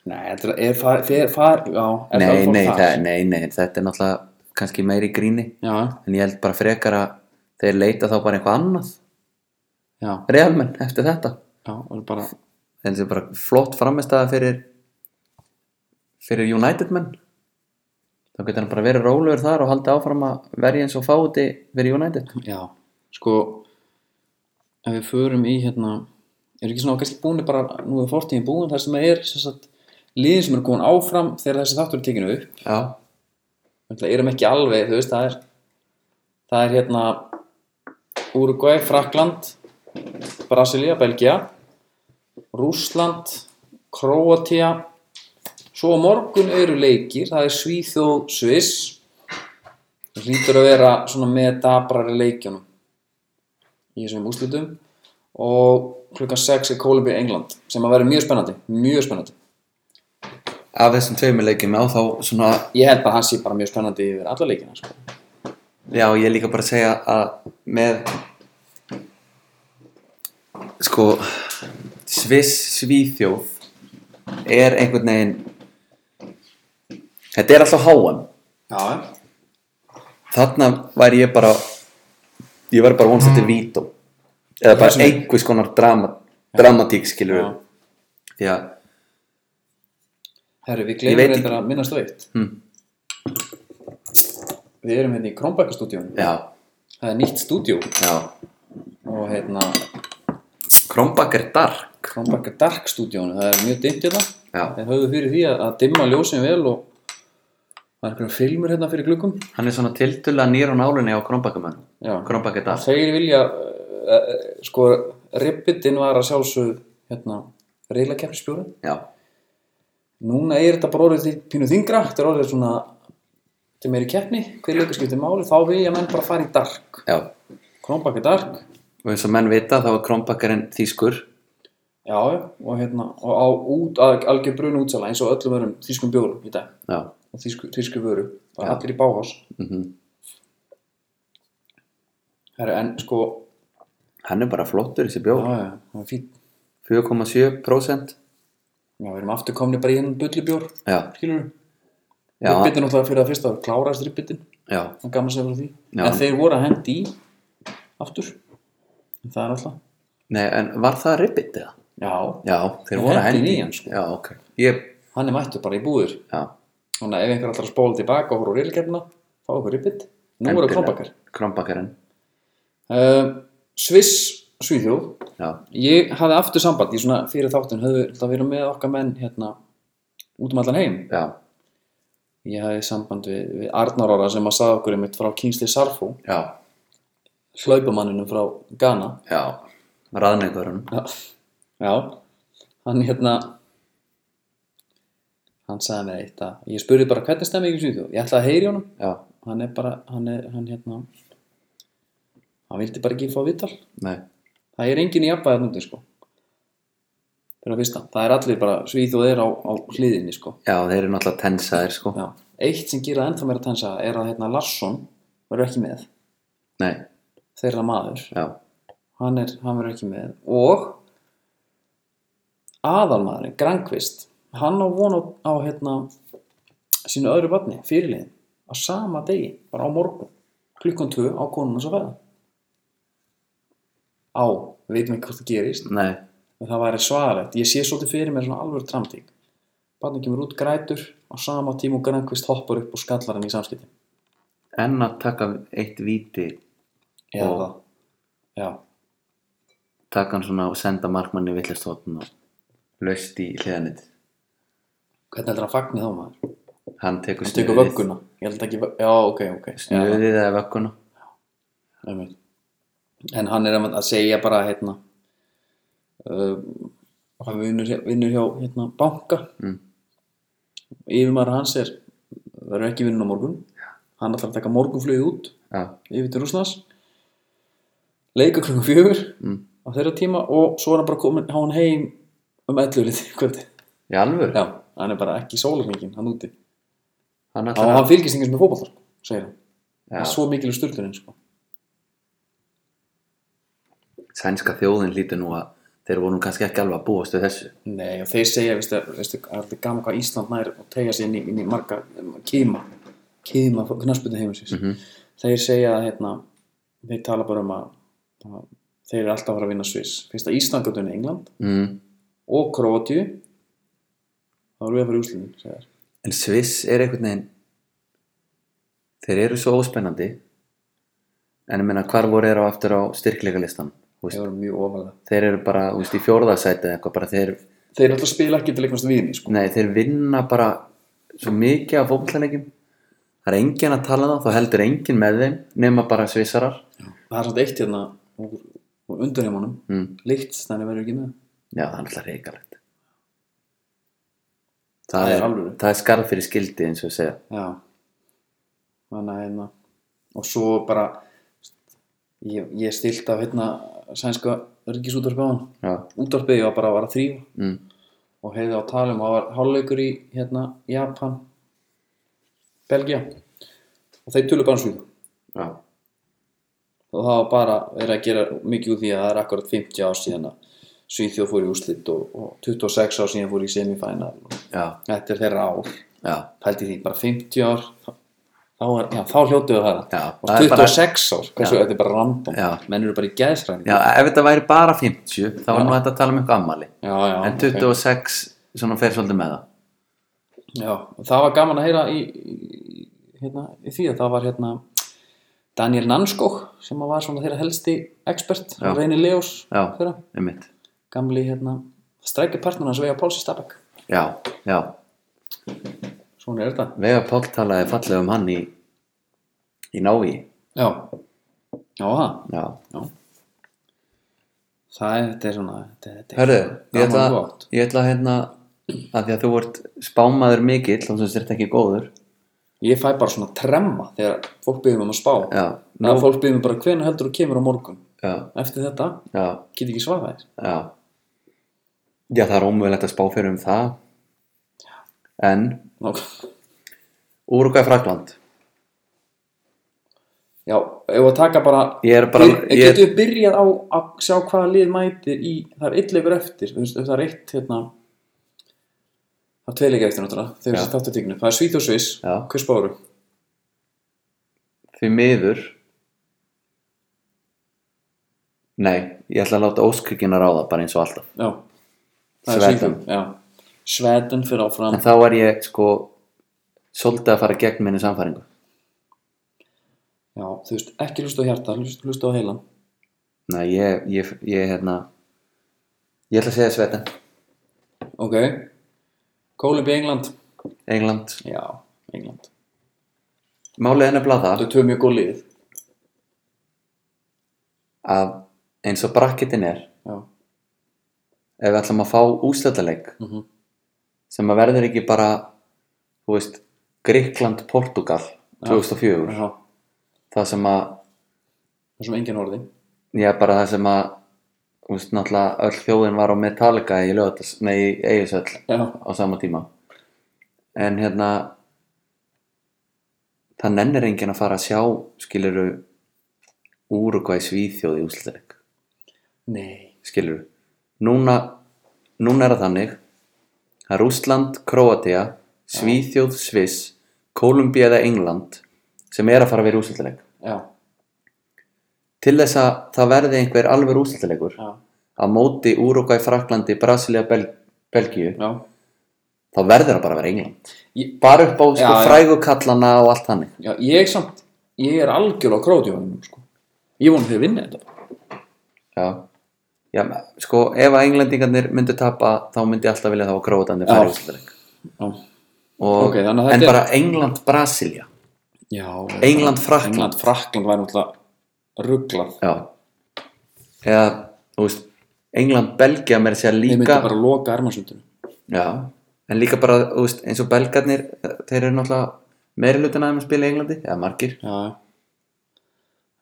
A: nei, þetta er far, fer, far, já, er
B: nei,
A: fór
B: nei,
A: þar?
B: það, nei, nei, þetta er náttúrulega kannski meiri gríni
A: já,
B: en ég held bara frekar að þeir leita þá bara eitthvað annað
A: já,
B: reyðmenn eftir þetta
A: já, og bara
B: þetta er bara flott framistæða fyrir fyrir United menn þá getur hann bara verið rólegur þar og haldið áfram að verja eins og fá úti fyrir United
A: Já, sko ef við förum í hérna eru ekki svona kannski búinir bara nú er fortíðin búin þar sem er sem sagt, liðin sem eru komin áfram þegar þessi þáttur er tekinu upp
B: já,
A: Þannig erum ekki alveg, þú veist, það er það er hérna Uruguay, Frakland Brasilia, Belgia Rússland Króatia svo á morgun eru leikir það er Svíþjóð, Sviss það hlýtur að vera svona með dabrari leikjunum í þessum úslutum og klukkan 6 er Kólumbíu England sem að vera mjög spennandi, mjög spennandi
B: af þessum tveimur leikjum á þá svona
A: ég held að hann sé bara mjög spennandi yfir alla leikina sko.
B: já, ég er líka bara að segja að með sko Sviss Svíþjóð er einhvern veginn þetta er alltaf háan
A: Já,
B: þarna væri ég bara ég væri bara vonst þetta er vító eða
A: Já, sem
B: bara
A: Mm. er-
B: einhvers konar drama, dramatík skilur
A: Já.
B: því að
A: Herru, við
B: Ég veit
A: gleymum
B: ekki-
A: þetta að minnast á eitt
B: Hmm.
A: Við erum hérna í Kronbækastúdíónu
B: já,
A: Það er nýtt stúdíó
B: já
A: og hérna
B: Krombak er dark
A: Krambarka Dark stúdíónu, það er mjög dimmt hérna
B: Já,
A: þeir höfðu fyrir því að, að dimma ljósin vel og það er einhverjum filmur hérna fyrir gluggum
B: hann er svona tildulega nýr á nálinni á Kronbakkamann
A: já,
B: Kronbakk er það
A: þeir vilja uh, uh, sko, ribbitin var að sjálfsög hérna, reyla keppnisbjóri
B: Já,
A: núna er þetta bara orðið því pínu þingra þetta er orðið svona þetta er meiri keppni, hver leikur skiptir máli þá vil ég að menn bara fara í dark
B: já
A: Kronbakka Dark,
B: Og eins og menn vita þá er Kronbakkarinn þýskur
A: já, já, og hérna og á út, algjör brun útsala eins og öllum örum þýskum bjórum í dag
B: Já,
A: og þýsku, þýsku vöru bara allir í báhás
B: mhm
A: Herra, en sko
B: Hann er bara flottur þessi bjór
A: já, já, það er fínt
B: 4,7%
A: já, við erum aftur komni bara í hennan bullibjór
B: Já,
A: skilur við,
B: já,
A: ribbitin náttúrulega fyrir að fyrsta að klára ribbitin,
B: já
A: það er gaman sem fyrir því
B: Já.
A: en þeir voru að hendi í aftur, en það er alltaf
B: Nei, en var það ribbit eða?
A: já,
B: Já, þeir
A: Þeir
B: voru að
A: hentu
B: hendi
A: í hann, sko.
B: Já, ok Ég,
A: hann er mættur bara í búður
B: já
A: þannig að ef einhver allar spóla tilbaka og horfa á reylgefna fá okkur ribbit, nú eru krompakar
B: Krombakkarinn,
A: uh, Sviss, Svíþjóð
B: já
A: ég hafði aftur samband í svona fyrir þáttin höfðu það verið með okkar menn hérna út um allan heim
B: Já,
A: ég hafði samband við, við Arnar Ára sem að sagði okkur einmitt frá Kingsley Sarfo
B: já,
A: hlaupamanninum frá Ghana
B: já Raðningurinn
A: já, já. hann hérna hann sagði mér eitt að ég spurði bara hvernig stemmi ekki sýðu ég ætlaði að heyri honum
B: Já,
A: hann er bara, hann er, hann hérna hann vildi bara ekki fá vital
B: nei
A: það er engin í jafnvæðar núti sko fyrir að fyrsta, það er allir bara svíð og þeir á, á hliðinni sko
B: Já, þeir eru náttúrulega tensaðir, sko
A: já. eitt sem gera ennþá meira tensa er að hérna Larsson verður ekki með
B: Nei,
A: þeirra maður
B: já,
A: hann, er, hann verður ekki með og aðalmaðurinn, Grankvist hann á von á, á hérna sínu öðru vatni, fyrirliðin á sama degi, bara á morgun klukkan 2 á konunum svo veða á, við veitum ekki hvort það gerist
B: nei
A: en það væri svaðalegt, ég sé svolítið fyrir mér svona alveg tramtík barnið kemur út grætur á sama tíma og Grankvist hoppar upp og skallar hann í samskipti
B: En að taka eitt víti
A: eða
B: Og-
A: það já,
B: taka hann svona og senda markmanni villistotn og laust í hliðanit
A: hvernig heldur hann fagni þá maður?
B: hann tekur
A: hann tekur vögguna ég held ekki, vö- já ok, ok já,
B: snuðið eða vögguna
A: einmitt. en hann er að að segja bara hérna uh, hann vinnur, hjá- vinnur hjá hérna, banka
B: Mm.
A: yfirmaður hans er verður ekki vinnun á morgun hann ætlar að taka morgunflöði út
B: já,
A: yfir til Rúslands leika klukkan fjögur
B: Mm.
A: á þeirra tíma og svo er hann bara komin hann heim um 11 liti kvöldi
B: í alvöru
A: já, hann er bara ekki sólarhengin hann úti
B: hann
A: og
B: ætlar
A: hann fylgist engins með fótballar segir hann
B: já,
A: Það er svo mikil styrlunin sko.
B: sænska þjóðin lítur nú að þeir voru nú kannski ekki alveg að búast við þessu
A: Nei, og þeir segja, veistu, veistu það er alltaf gaman hvað Ísland nær og tegja sér inn í, inn í marga um, kýma, kýma knarsbyrni heimsins.
B: Mhm.
A: Þeir segja að hérna, þeir tala bara um að, að þeir eru alltaf að fara að vinna Sviss. Fyrst að Ísland gott unni England
B: mm.
A: og Kroatíu, þá erum við að fara í úslinni, segja þær.
B: en Sviss er einhvern veginn þeir eru svo óspennandi en ég meina hvar voru þeir á aftur á styrkleika listan
A: Þeir eru mjög ofalega.
B: þeir eru bara, þú veist, í fjórðasæti eða eitthvað bara þeir
A: Þeir alltaf spila ekki til einhvernst viðni, sko.
B: Nei, þeir vinna bara svo mikið af fókbaltalegjum það er engin að tala það, þá heldur engin með þeim nema bara svissarar
A: Það er samt eitt hérna úr, úr undanheimunum,
B: mm.
A: líkt, þannig verður ekki með.
B: Já, það er alltaf reikalegt það,
A: Það er
B: er,
A: alvöru.
B: það er skarð fyrir skildi eins og við segja
A: Já Þannig að hérna Og svo bara Ég, ég stilt af hérna Sænska örgisútarpi á hann
B: Já,
A: Útarpið ég var bara að vara að þrýfa
B: mm.
A: Og heyrði á talum og það var hálfleikur í hérna Japan Belgia Og þeir tölu bara svíðu
B: Já.
A: og það var bara verið að gera mikið úr því að það er akkurat 50 ár síðan að Svíþjóð fór í úrslit og, og 26 ár síðan fór í semifænal
B: Já.
A: Þetta er þeirra ár
B: Já.
A: pældi því bara 50 ár þá, þá, er- já, þá hljótu við það
B: Já,
A: og
B: það er bara-
A: 26 ár, hversu
B: Já.
A: þetta er bara random
B: Já.
A: menn eru bara í gæðsræðing
B: Já, ef þetta væri bara 50 þá var nú þetta að tala um eitthvað ammali
A: já, já,
B: en 26 svona fer svolítið með það
A: okay. já, og það var gaman að heyra í, í, hérna, í því að það var hérna Daniel Nanskog sem var svona þeirra helsti expert,
B: Já.
A: Reyni Leos
B: Já,
A: þeirra,
B: einmitt
A: gamli hérna strækja partnuna hans vega Páls í Stabæk
B: já, já
A: svona er þetta
B: Vega Páll talaði fallega um hann í í návi
A: já, já það
B: já,
A: já. það er, þetta er svona þetta, þetta er
B: hörðu, ég
A: gaman
B: ætla,
A: og gott.
B: ég ætla hérna að því að þú vart spámaður mikill þá sem þú sért ekki góður
A: ég fæ bara svona tremma þegar fólk byrðum um að spá
B: já,
A: Nú, fólk byrðum bara hvenær heldur þú kemur á morgun
B: já,
A: eftir þetta,
B: já,
A: get ekki svara þess
B: já já, það er ómögulegt að spá fyrir um það en
A: Ná,
B: Úrugvæði Frakland
A: [laughs] já, ef að taka bara
B: ég er bara
A: Byr,
B: ég,
A: getum við byrjað á að sjá hvaða lið mætir í, það er eitt leifur eftir þú veist, ef það er eitt hérna það er tvei leikir eftir náttúrulega þegar
B: Já.
A: þessi þáttu tíknu, það er Svíð og Svís
B: Já.
A: hvers báru?
B: því miður nei, ég ætla að láta óskrikina ráða bara eins og alltaf
A: Já, það er
B: Sveten.
A: Svíð Já, Sveten fyrir áfram
B: en þá er ég sko svolítið að fara gegn minni samfæringu
A: Já, þú veist, ekki hlusta á hjarta, hlust- hlusta á heilan
B: nei, ég, ég, ég hérna ég ætla að segja Sveten
A: Ok Kólumbí England
B: England,
A: Já, England
B: málið er nefnilega
A: Það
B: það
A: er tvö mjög góð lið
B: að eins og brakkitin er
A: Já,
B: ef við ætlum að fá ústöldaleik
A: Mhm.
B: sem að verður ekki bara þú veist, Gríkland, Portugal 2004
A: Já.
B: það sem að
A: það er sem engin orði
B: Já, bara það sem að þú veist, náttúrulega öll þjóðin var á Metallica í lögatas, nei, í Eigisöll
A: Já,
B: á sama tíma en hérna það nennir enginn að fara að sjá skiluru Úrugvæ Svíþjóð í úsleik
A: nei
B: skiluru núna, núna er það þannig að Rússland, Króatia Svíþjóð, Sviss Kólumbía eða England sem er að fara að vera úsleik
A: Já,
B: til þess að það verði einhver alveg úsleikur
A: já,
B: á móti Úrugvæ, Fraklandi, Brasilia, Bel Belgíu
A: já
B: þá verður það bara að vera England
A: Ég-
B: bara upp á sko,
A: Já, já.
B: frægu kallana og allt þannig
A: Já, ég samt, ég er algjörlega á krótjóðunum, sko. Ég vona þau vinna þetta.
B: já. Já, me- sko ef að englendingarnir myndu tapa þá myndi ég alltaf vilja þá að
A: Já.
B: gróðandi færi úsleik
A: Já,
B: og
A: Ok, þannig að
B: en
A: þetta er-
B: bara England, Brasilia
A: já.
B: England, Frakkland.
A: England, Frakland væri náttúrulega rugglað.
B: já eða, þú veist England, Belgia mér sé að
A: Þeir
B: líka
A: myndi bara loka ermarsundinu.
B: já, en líka bara, þú veist, eins og belgarnir eh, þeir eru náttúrulega meiri hlutin aðeins að spila í Englandi, eða margir
A: Já, já.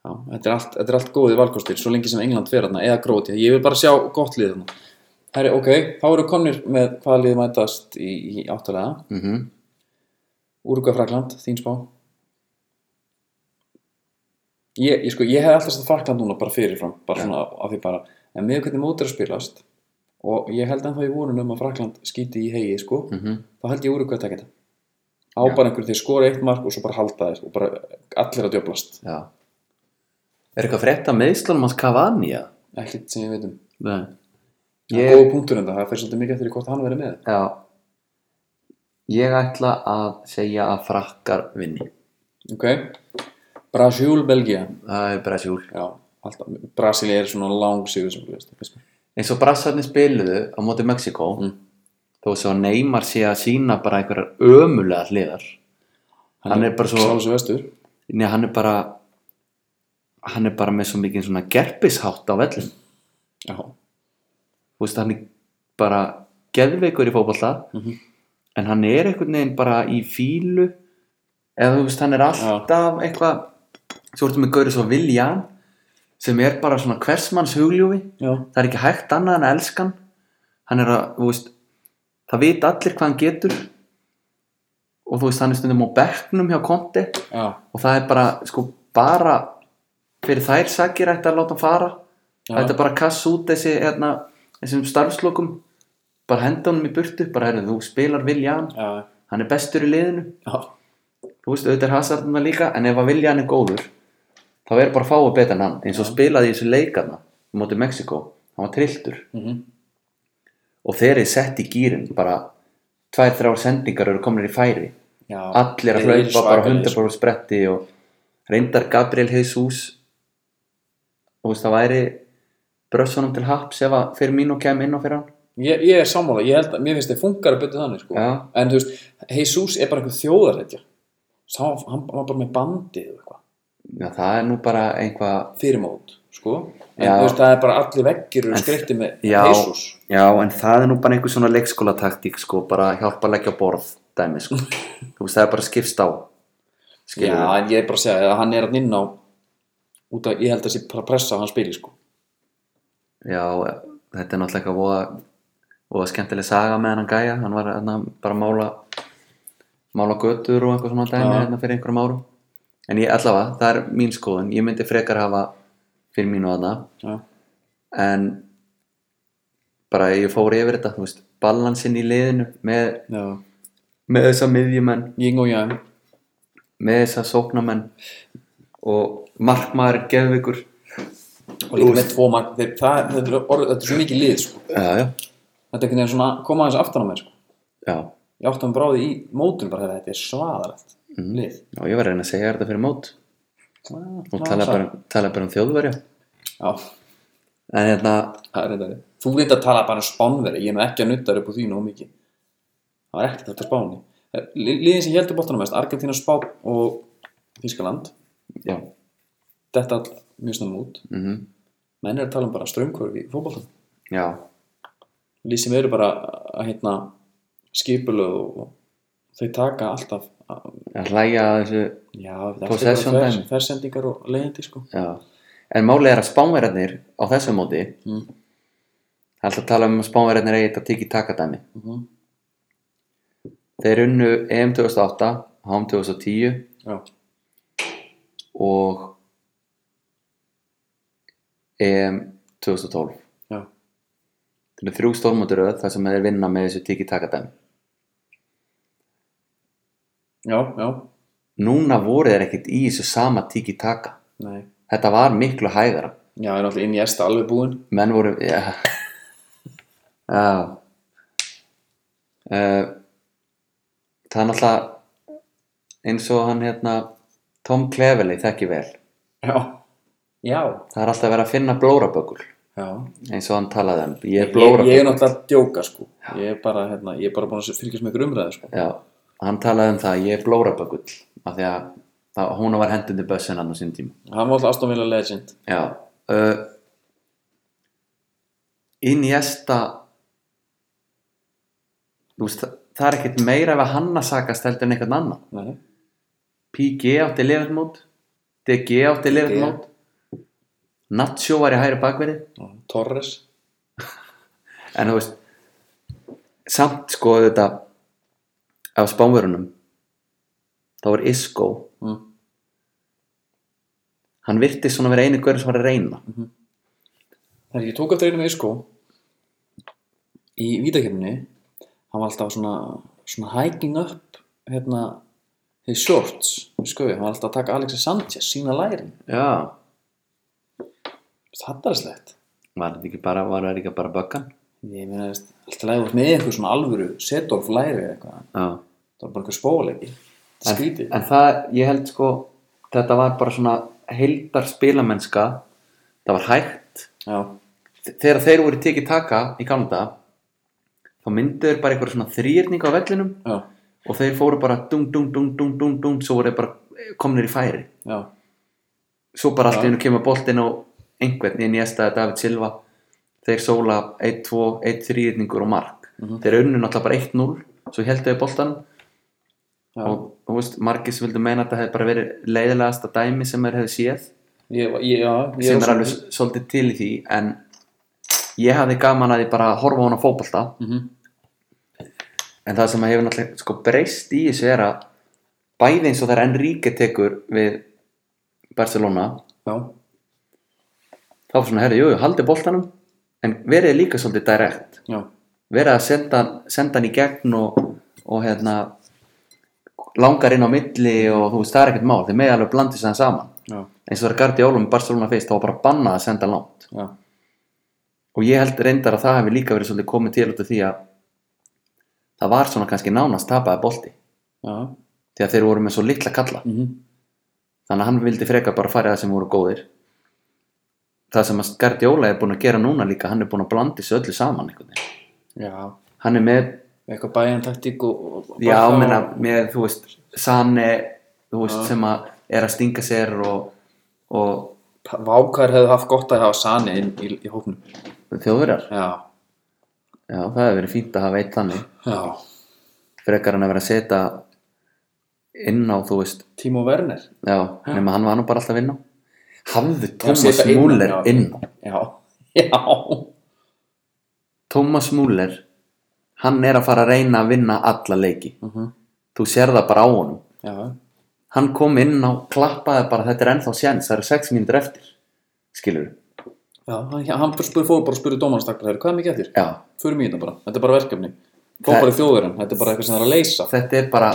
A: Já, þetta er allt, þetta er allt góðið valkostir, svo lengi sem England fer þarna, eða Krótía. Ég vil bara sjá gott lið þarna. Herri, ok, þá eru komnir með hvaða lið mætast í, í áttalega.
B: mm
A: Úrugvæð Frakland, þín spá. Ég, ég, sko, ég hef alltaf sett Frakland núna bara fyrirfram, bara svona af því bara, en með hvernig mót er að spilast og ég held ennþá í vonun um að Frakland skýti í hegi, sko,
B: Mhm.
A: þá held ég Úrugvæð að taka þetta. Á
B: Já.
A: bara einhverju þeir skora eitt mark og svo bara halda þeir og bara allir að djöblast.
B: Já. Er eitthvað frétt að meðslunum hans Cavani? eða?
A: Ekkert sem ég veit um.
B: Nei.
A: Það er
B: Ég,
A: góð punktur enda, það fer svolítið mikið eftir í hvort hann verið með.
B: já, ég ætla að segja að frakkar vinni.
A: Ok, Brasíul, Belgia.
B: Það er Brasíl.
A: Já, alltaf, Brasíli er svona lang sigur sem við veist.
B: Eins og brassarnir spiluðu á móti Mexiko,
A: Mm.
B: þó svo að Neymar sé að sína bara einhverjar ömulega hliðar. Hann er bara svo-
A: Sá þessu vestur.
B: Nei, hann er bara, hann er bara með svo mikið svona gerpishátt á vellum.
A: Já,
B: Þú veist, hann er bara geðveikur í fótbolta,
A: Mhm.
B: en hann er einhvern veginn bara í fílu eða þú veist, hann er alltaf eitthvað svo ertu með gaurið svo Viljan sem er bara svona hversmanns hugljúfi
A: já.
B: það er ekki hægt annað en að elska hann hann er að, þú veist það vita allir hvað hann getur og þú veist, hann er stundum á bekknum hjá Konti
A: Já,
B: og það er bara, sko, bara fyrir þær sakir ætti að láta hann fara
A: Já.
B: þetta er bara að kassa út þessi, hérna, þessum starfslokum bara henda honum í burtu bara, heyrðu, þú spilar Viljan
A: já,
B: hann er bestur í liðinu
A: já,
B: þú veist, auðvitað er hasardina líka en ef að vilja hann er góður þá er bara fáið betur en hann eins og spilaði í þessu leikarna mótið Mexiko hann var trilltur
A: mhm,
B: og þeir eru sett í gýrin bara tvær, þrjár sendingar eru komin í færi
A: já
B: allir að
A: Þeir eru
B: hlaupa bara
A: svakalegir, sko.
B: 100 bara spretti og reyndar Gabriel Jesus þú veist, það væri brössunum til haps ef að fyrir mín og kem inn á fyrir hann
A: ég, ég er sammála, ég held að mér finnst þeir funkar að byrja þannig sko.
B: Já.
A: en þú veist, Jesus er bara einhver þjóðarhetja Sá, hann hann var bara með bandið og eitthvað,
B: Já, það er nú bara einhvað
A: fyrir mót sko. en
B: Já.
A: þú veist, það er bara allir veggir
B: En-
A: og skreitti með
B: Já.
A: Jesus
B: Já, en það er nú bara einhver svona leikskólataktík sko, bara hjálpa að leggja á borð dæmi,
A: [laughs]
B: sko. þú veist, það er bara skipst á
A: Já,
B: skilur
A: en ég er bara að segja að hann er hann inn á út að ég held að sé bara pressa að hann spili sko.
B: Já, þetta er náttúrulega eitthvað voða, voða skemmtileg saga með hennan gæja hann var hann, bara að mála mála götur og einhver svona dæmi
A: Já.
B: hérna fyrir einhverjum árum en ég allavega, það er mín skoðun ég myndi frekar hafa fyrir mínu aðna
A: Já,
B: en bara ég fór yfir þetta, þú veist, balansinn í liðinu með,
A: já
B: með þessa miðjumenn
A: Ying og Yang
B: með þessa sóknamenn og markmaður geðvikur
A: og líka með tvo mark þeir, það, það, er orð, þetta er svo mikið lið sko.
B: já, já,
A: þetta er einhvern veginn svona koma aðeins aftan á mér sko.
B: já,
A: ég átti hann bráði í mótum bara þegar þetta er svaðalegt lið
B: já ég var að reyna að segja þér þetta fyrir mót og
A: og
B: tala bara, tala bara um þjóðverja
A: já,
B: en hérna,
A: það er þetta þú reyndar að tala bara um spánveri ég er nú ekki að nutta upp á því nóg mikið það var ekkert þetta spáni Eh, Li- liðin sem heldur bóttanum mest Argentina, Spán og Þískaland
B: já
A: þetta all mjög snemma út
B: mm
A: menn er að tala um bara ströngkvörf í fótboltan
B: já,
A: lið sem eru bara að hérna skipulög og, og þau taka alltaf að,
B: að hlæja að þessu
A: já, það er
B: Possession
A: bara
B: dæmi.
A: fersendingar og leiðindi sko
B: já, en málið er að spánverjarnir á þessu móti
A: mm.
B: það er alltaf að tala um að spánverjarnir eigi þetta tiki takadæmi
A: Mm
B: þeir unnu EM 2008 HM 2010
A: já,
B: og EM 2012
A: já,
B: Þetta er þrjú stórmóti röð þar sem þeir vinna með þessu tiki-taka-dæmi.
A: já, já
B: Núna voru þeir ekkert í þessu sama tiki-taka.
A: nei,
B: Þetta var miklu hægara.
A: já, er náttúrulega inn í esta alveg búinn
B: Menn voru, já. Já. Uh, það er náttúrulega eins og hann hérna, Tom Cleverley þekki vel.
A: já, já,
B: Það er alltaf verið að finna blóraböggul
A: já
B: eins og hann talaði um. Ég er
A: ég, ég er
B: blóraböggul.
A: náttúrulega að djóka sko ég er bara, hérna, ég er bara búin að fylgjast með ykkur umræði sko
B: Já, hann talaði um það, ég er blóraböggul. Af því að það, hún var hendundi bössin hann á sín tíma.
A: hann var alltaf aðstofnvila legend
B: Já uh, Iniesta þú veist, það, það er ekkert meira ef að hann að sakast heldur en einhvern annan
A: nei,
B: PG átti lefið mót DG átti lefið
A: DG.
B: mót Nacho var í hæri bakverði
A: já, Torres
B: en þú veist samt sko þetta af spánverunum þá var Isco
A: mm.
B: hann virtist svona vera einu görn sem var að reyna
A: Þegar ég tók eftir einu með Isko sko. í vítakefni hann var alltaf svona, svona hiking up hérna his shorts, skoði, hann var alltaf að taka Alexis Sanchez, sína lærin
B: Já,
A: þetta er slett
B: var þetta ekki bara, var þetta ekki bara böggan?
A: ég meina, veist, alltaf lægur með eitthvað svona alvöru setdorf læri eða eitthvað
B: Já
A: það var bara einhver spóleiki, þetta er
B: en,
A: skrítið
B: en það, ég held sko þetta var bara svona heildar spilamennska það var hægt
A: já,
B: þegar þeir voru tekið taka í gamla þá myndu þeir bara einhverja svona þrýrning á vellinum
A: já,
B: og þeir fóru bara dung, dung, dung, dung, dung, dung svo voru þeir bara komnir í færi
A: já,
B: svo bara allt í
A: Já.
B: hennu kemur boltinn á einhvern inn í estaði David Silva þeir sóla 1-2, 1-3 yrningur og mark
A: Mhm.
B: þeir unnu náttúrulega bara 1-0 svo heldur við boltan
A: Já.
B: og þú veist, margir sem vildu meina að þetta hefði bara verið leiðilegasta dæmi sem þeir hefði séð
A: ég, ég, já, ég
B: sem er alveg s- svolítið til í því en ég hafði gaman að ég bara að horfa á hana fótbolta
A: mm -hmm.
B: Mhm. en það sem hefur náttúrulega sko breyst í þessu er að bæði eins og það er Enrique tekur við Barcelona
A: já,
B: þá var svona, herri, jú, jú, haldið boltanum en verið líka svolítið direkt
A: já,
B: verið að senda, senda hann í gegn og, og hérna langar inn á milli og þú veist, það er ekkert mál, þeir megi alveg blandið sér saman
A: já,
B: eins og það er Gardi Ólum í Barcelona fyrst, þá var bara bannað að senda langt
A: já
B: og ég held reyndar að það hefur líka verið svolítið komið til út af því að það var svona kannski nánast tapaði bolti
A: já,
B: því að þeir voru með svo litla kalla
A: mm
B: þannig að hann vildi frekar bara fara í það sem voru góðir það sem að Gardi Óla er búin að gera núna líka hann er búin að blandi þessu öllu saman einhvern veginn
A: Já,
B: hann er með
A: eitthvað bæjan taktík og, og og
B: Já,
A: Barca
B: menna,
A: og-
B: með, þú veist, Sane, þú veist, sem að er að stinga sér og, og
A: Pa- Vá, Vákar hefði haft gott að hafa Sani inn í, í hópnum
B: þjóðverjar.
A: Já,
B: Já, það hefur verið fínt að hafa eitt þannig.
A: já
B: Frekar hann að vera að setja inn á, þú veist,
A: Timo Werner
B: já, nema hann var nú bara alltaf inn á. Hafðu
A: Já,
B: Thomas
A: setja inn á,
B: Müller
A: já.
B: inn á.
A: Já, [laughs] já
B: Thomas Müller, hann er að fara að reyna að vinna alla leiki.
A: Mhm.
B: Þú sér það bara á honum.
A: Já,
B: Hann kom inn á, klappaði bara, þetta er ennþá séns, það eru sex mínútur eftir, skilur
A: já hann, hann spyr, fór bara að spyrja dómarastaklega Hvað er mikið eftir?
B: Já,
A: Förum í þetta bara, þetta er bara verkefni
B: Það-
A: Fópar í þjóðverðin, þetta er bara eitthvað sem það er að leysa
B: þetta er bara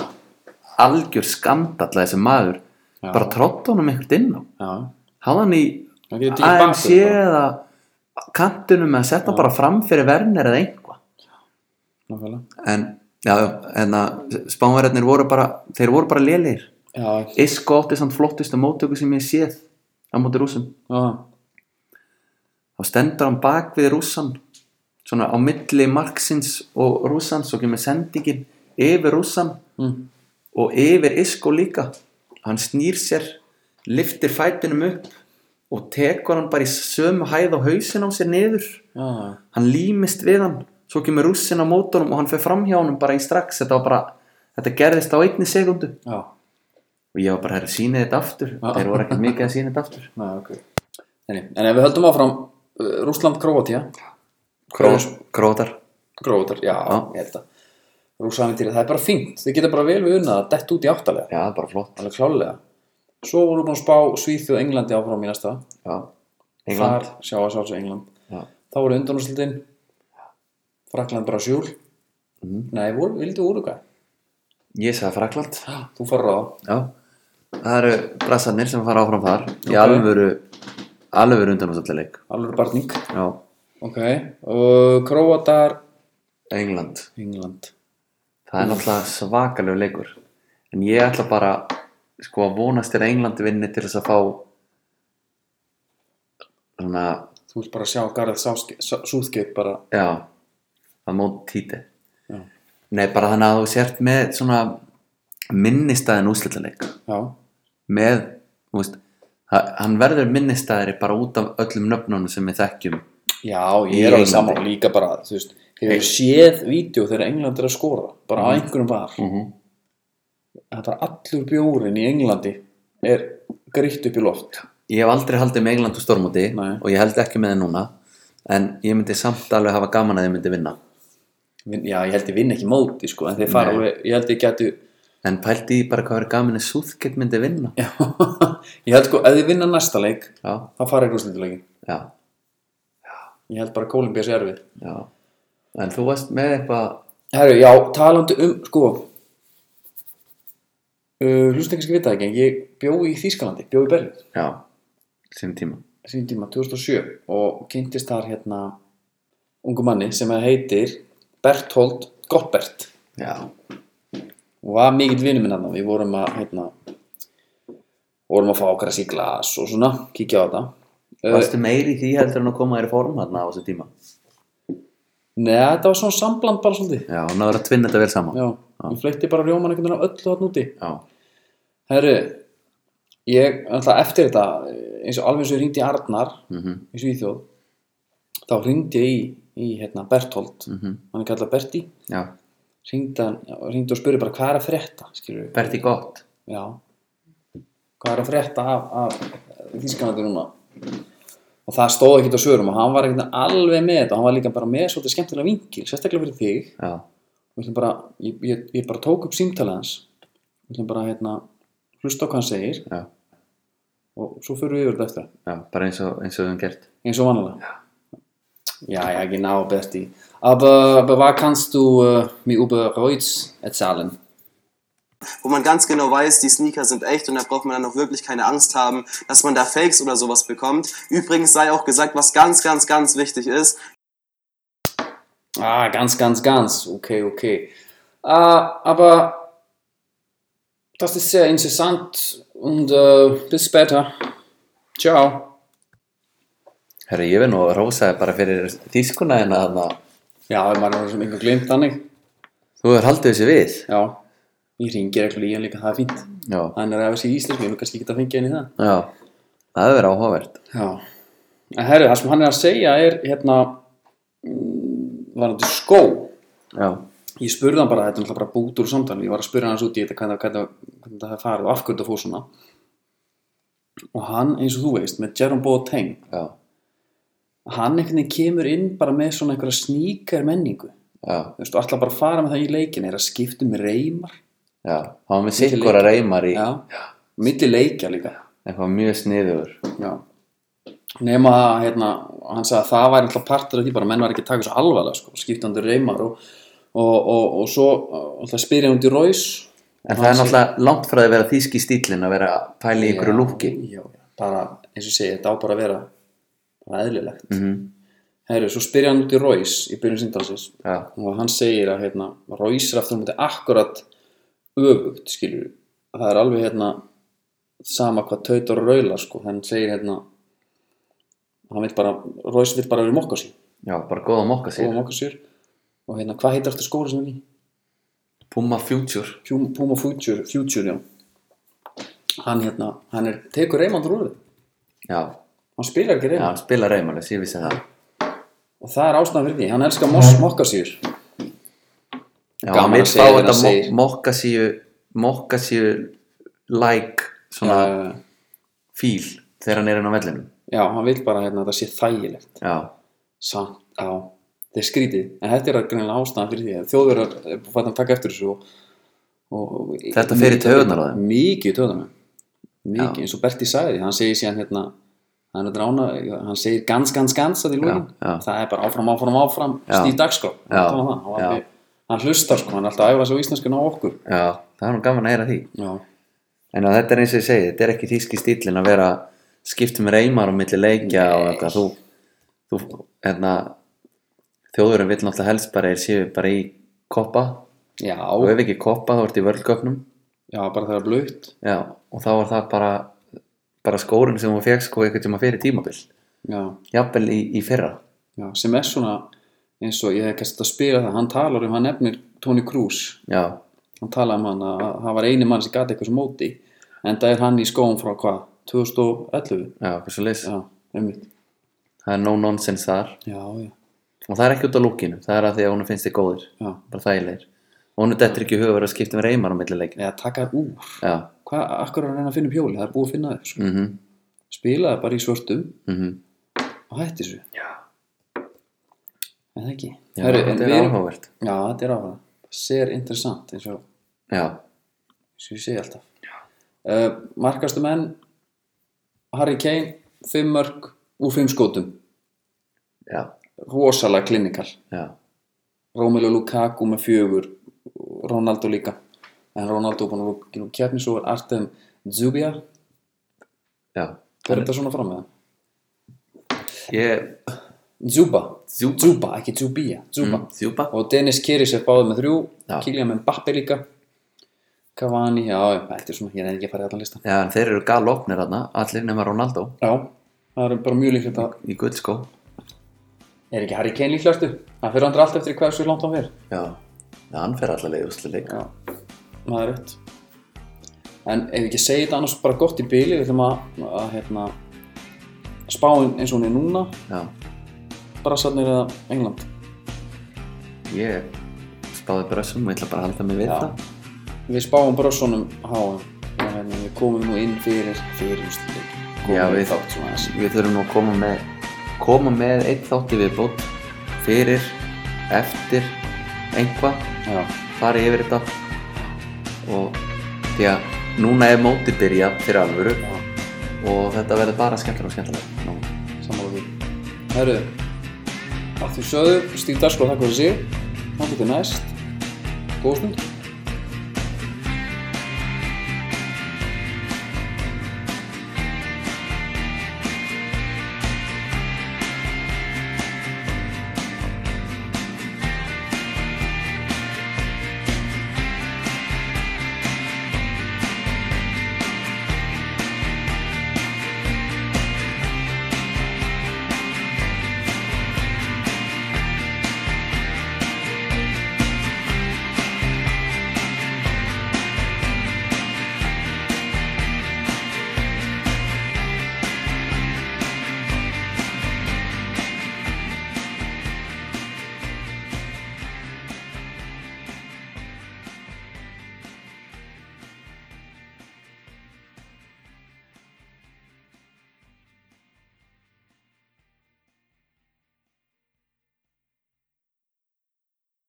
B: algjör skandall að þessi maður
A: Já.
B: bara trótt honum einhvert inn á
A: Já,
B: hafa hann í
A: það getur tíð
B: AMC
A: bakið bara.
B: eða kantinum eða setja hann bara fram fyrir verner eða einhva
A: Nákvæmlega.
B: en, já, já, en að spánverðarnir voru bara, þeir voru bara lélir
A: Já,
B: Isko átti samt flottustu móttöku sem ég séð á móti rússum
A: já,
B: þá stendur hann bak við rússan svona á milli marksins og rússan svo kemur sendingin yfir rússan
A: mm.
B: og yfir Isko líka hann snýr sér, liftir fætinum upp og tekur hann bara í sömu hæð á hausin á sér niður
A: já, já.
B: hann límist við hann svo kemur rússin á mótorum og hann fer fram hjá honum bara í strax þetta, var bara, þetta gerðist á einni sekundu
A: já.
B: og ég var bara að sína þetta aftur
A: Já.
B: þeir voru ekkert mikið að sína þetta
A: [laughs]
B: aftur
A: Nei, ok Nei, En ef við höldum áfram uh, Rússland, Króatía
B: Krós, Krótar
A: Gróðar, já, ég held að Rússaventýri, það er bara fínt, þið geta bara vel við unnað að dett út í áttalega,
B: já, bara flott
A: alveg klálega Svo vorum við búin að spá Svíþjóð og Englandi áfram í næsta
B: já. England,
A: Þar sjá að sjálfsög England
B: Já.
A: Þá voru undanúrslutin Frakland Brasjúl mm. Nei, voru, vildu úruga
B: ég sagði Frakland
A: Þú farur á það
B: já. það eru brassarnir sem fara áfram þar í
A: Ok.
B: alvöru alvöru undan leik
A: Alveg barning
B: já,
A: Ok, og Króatar
B: England
A: England
B: Það er náttúrulega svakalegu leikur En ég ætla bara sko að vonast til að England vinni til þess að fá svona,
A: Þú vilt bara sjá Gareth Súðgeip bara
B: já að móti títi
A: Já.
B: Nei, bara þannig að þú sért með svona minnistæðin úrslitaleik
A: Já,
B: með, þú veist ha- hann verður minnistæðri bara út af öllum nöfnunum sem við þekkjum
A: já
B: Í
A: ég er alveg
B: Englandi.
A: saman líka bara, þú veist Hefur séð vídeo þegar England er að skora bara á einhverjum var
B: mm -hmm.
A: Það er bara allur bjórin í Englandi er grýtt upp í loft
B: Ég hef aldrei haldið með England og Stormóti
A: Nei.
B: og ég held ekki með það núna en ég myndi samt alveg hafa gaman að ég myndi vinna
A: Vin- Já, ég held ég vinn ekki móti sko, en þeir fara
B: Nei.
A: alveg, ég held ég getu
B: En pældi í bara hvað verið gaman að Súðgett myndi vinna.
A: Já, [laughs] ég held sko, ef þið vinna næsta leik
B: Já,
A: þá fara ykkur úrslinduleikin
B: já,
A: ég held bara að Kólumbíu sé erfið
B: já. En þú varst með eitthvað,
A: Herru, já, talandi um, sko uh, hlustu kannski vita það ekki en ég bjó í Þýskalandi, bjó í Berlín
B: já, sem tíma.
A: sín tíma, 2007 og kynntist þar hérna ungu manni sem heitir Berthold Gottbert
B: Já,
A: og var mikill vinur minn hann við vorum að hérna, vorum að fá okkar að síglas og svona, kíkja á þetta uh,
B: varstu meiri í því heldur en að koma þér í form þarna á þessu tíma.
A: neða, þetta var svona sambland bara svolítið
B: Já, og náður að tvinna þetta vel saman.
A: Já, ég fleitti bara rjóman einhvern veginn á öllu þarna úti
B: Já,
A: Herru, ég alltaf eftir þetta eins og alveg eins og ég hringdi í Arnar
B: mhm,
A: í Svíþjóð þá hringdi ég í, í hérna, Berthold
B: mhm,
A: hann er kallað Berti
B: já.
A: hringdi, hann, já, hringdi og spurði bara hvað er að frétta skilur við,
B: Berti gott.
A: já hvað er að frétta af, af Þískanandi núna og það stóð ekkert á svörum og hann var ekkert alveg með þetta og hann var líka bara með svolítið skemmtilega vinkil sérstaklega fyrir þig
B: Já,
A: við ætlum bara, ég, ég, ég bara tók upp símtalið hans við ætlum bara hérna hlusta á hvað hann segir
B: já,
A: og svo fyrir við yfir þetta eftir
B: já, bara eins og, eins og við höfum gert.
A: eins og vanlega já, já, genau, besti aber, aber was kannst du uh, mir über Reutz erzählen?
C: wo man ganz genau weiß, die Sneaker sind echt und da braucht man dann auch wirklich keine Angst haben, dass man da Fakes oder sowas bekommt. Übrigens sei auch gesagt, was ganz, ganz, ganz wichtig ist,
A: ah, ganz, ganz, ganz okay, okay ah, aber das ist sehr interessant und uh, bis später ciao
B: hérna Herra, ég verð nú að rósa þér bara fyrir þýskuna en að
A: Já, ef maður er sem einhver glimt þannig
B: Þú hefur haldið þessi við
A: Já, ég ringir eitthvað í hann líka, það er fínt
B: Já,
A: Hann er að hafa sér í íslensku, ég vil kannski geta að fengja henni það
B: já Það hefur verið áhugavert
A: Já, en herri, það sem hann er að segja er hérna mm, varandi skó
B: Já,
A: Ég spurði hann bara, þetta er náttúrulega bara bútur úr samtali Ég var að spurða hans út í þetta hvernig, hvernig, hvernig það farið og af hverju það fór svona Og hann, eins og þú veist, með Jerome Boateng
B: já,
A: Hann einhvern veginn kemur inn bara með svona einhverja sníkar menningu
B: já,
A: Þú veist, og alltaf bara að fara með það í leikin Er að skipta um reymar
B: já Það var með sikkora reymar í
A: Já, milli leikja líka
B: eitthvað mjög sniður
A: Já Nefna að hérna, hann sagði að það væri alltaf partur af því bara að menn var ekki að taka þessu alvarlega sko, skiptandi reymar og, og, og, og svo uh, alltaf spyrir hann út í raus
B: En það er náttúrulega langt frá því að vera þýski stílinn að vera að pæla í ykkur lúki
A: Já, bara eins og ég segi, þetta á bara að vera bara eðlilegt
B: mm
A: Herru, svo spyrir hann út í raus í byrjun síndansins
B: Já,
A: og hann segir að hérna, Royce er aftur á móti akkurat öfugt skilur það er alveg hérna sama hvað taut og raula sko hann segir hérna hann vil bara, Royce vil bara vera mokkasýr
B: já, bara góða mokka
A: og
B: sér
A: mokkasýr og hérna, hvað heitir aftur skóla sem hann er í?
B: Puma Future
A: Puma Puma Future, Future já hann hérna, hann er tekur reymandur úr þeim.
B: Já,
A: hann spilar ekki
B: já,
A: reymand
B: hann spila reymarlis, ég vissi það
A: og það er ástæðan fyrir því, hann elskar mos, mokkasýr
B: Já,
A: Gaman
B: hann vil
A: að
B: fá
A: segja
B: þetta
A: þegar hann
B: mo- mokka síu mokka síu like svona
A: já,
B: fíl þegar hann er inn á vellinum
A: já, hann vil bara hérna, þetta sé þægilegt
B: Já,
A: Samt, já, þetta er skrítið en þetta er greinilega ástæðan fyrir því að þjóðverðar er búin að taka eftir þessu og, og, og
B: Þetta fer í taugarnar á þeim.
A: Mikið í taugarnar á þeim. Mikið,
B: Já.
A: eins og Berti sagði, hann segir síðan hérna hann, er drána, hann segir gans, gans, gans að því lúin,
B: Já, já.
A: það er bara áfram, áfram, áfram
B: Já.
A: stíð dagskrá
B: Já,
A: Hann talar það, og
B: já.
A: alveg- hann hlustar sko, hann er alltaf að æfa sig á íslenskun á okkur
B: já, það er nú gaman að heyra því
A: já,
B: En að þetta er eins og ég segi, þetta er ekki þýski stílinn að vera skipt um reymar og milli leikja og
A: Nei.
B: þetta, þú, þú hérna, þjóðurinn vill náttúrulega helst bara er séu bara í koppa
A: já,
B: og ef ekki koppa þá ertu í vörlgöfnum
A: já bara þegar blöitt
B: já, og þá er það bara bara skórin sem þú fegst sko eitthvað tíma fyrir tímabil
A: já,
B: jafnvel í, í fyrra
A: já, sem er svona eins og ég hef kannski að spila það hann talar um, hann nefnir Tony Cruz
B: já,
A: hann talaði um hann að að það var eini mann sem gati eitthvað sem móti en það er hann í skóum frá hvað 2011
B: já, eitthvað svo leys
A: já, einmitt
B: það er no nonsense þar
A: já, já,
B: og það er ekki út á lúkinu, það er að því að hún finnst þið góðir
A: já,
B: bara þægilegir og hún er dettur ekki í hug að vera að skipta um reymar á milli leikja
A: eða taka það úr
B: já,
A: hvað, akkur er að reyna að finna upp hjóli, það er búið að finna þau sko.
B: mhm,
A: spilaði bara í svörtum
B: mhm
A: og hætti þessu já en það ekki
B: Já,
A: Herru, en
B: þetta
A: við
B: er
A: erum-
B: áhugavert
A: já, þetta er áhuga sér interessant eins og
B: Já,
A: sem ég segi alltaf uh, markastu menn Harry Kane, 5 mörg úr 5 skótum,
B: já,
A: rosalega klinikal
B: já,
A: Romelu Lukaku með fjögur Ronaldo líka en Ronaldo er búin að lúkina um kefni svo er Artem Zubia
B: já
A: er þetta svona fram með það?
B: Ég,
A: Zuba,
B: Zuba.
A: Zuba ekki Zubia, Zuba
B: þjúpa
A: og Dennis Kiris er báðið með þrjú
B: Mm. Já.
A: Kylian Mbappe líka Cavani, já, já, þetta er svona ég er ekki að fara í allan listan
B: Já, en þeir eru galopnir þarna, allir nema Ronaldo
A: já, það er bara mjög líklegt að
B: í guldskó
A: er ekki Harry Kane líklegastu það fyrir andra allt eftir hvað svo langt hann fyrir
B: Já, já, hann fer allavega í úslileik
A: Já, það er rétt En ef ekki segi þetta annars bara gott í bíli Við ætlum að, að hérna, spáin eins og hún er núna
B: Já,
A: Brassarnir eða England
B: ég spáði brössum, ég ætla bara að halda mig við
A: Já.
B: það
A: Við spáum brössunum háum og hérna, við komum nú inn fyrir fyrir úrstundin
B: Já, við-
A: þátt svona þessi
B: Við þurfum nú að koma með koma með eitt þátti viðbót fyrir, eftir einhvað,
A: Já,
B: farið yfir þetta og því að núna er mótið byrjað fyrir alvöru
A: já,
B: og þetta verður bara skemmtilega og skemmtilega Nú.
A: sammála því Herru, að því sögðu Stíf Darsko, takk fyrir sig Þannig til næst Góð stund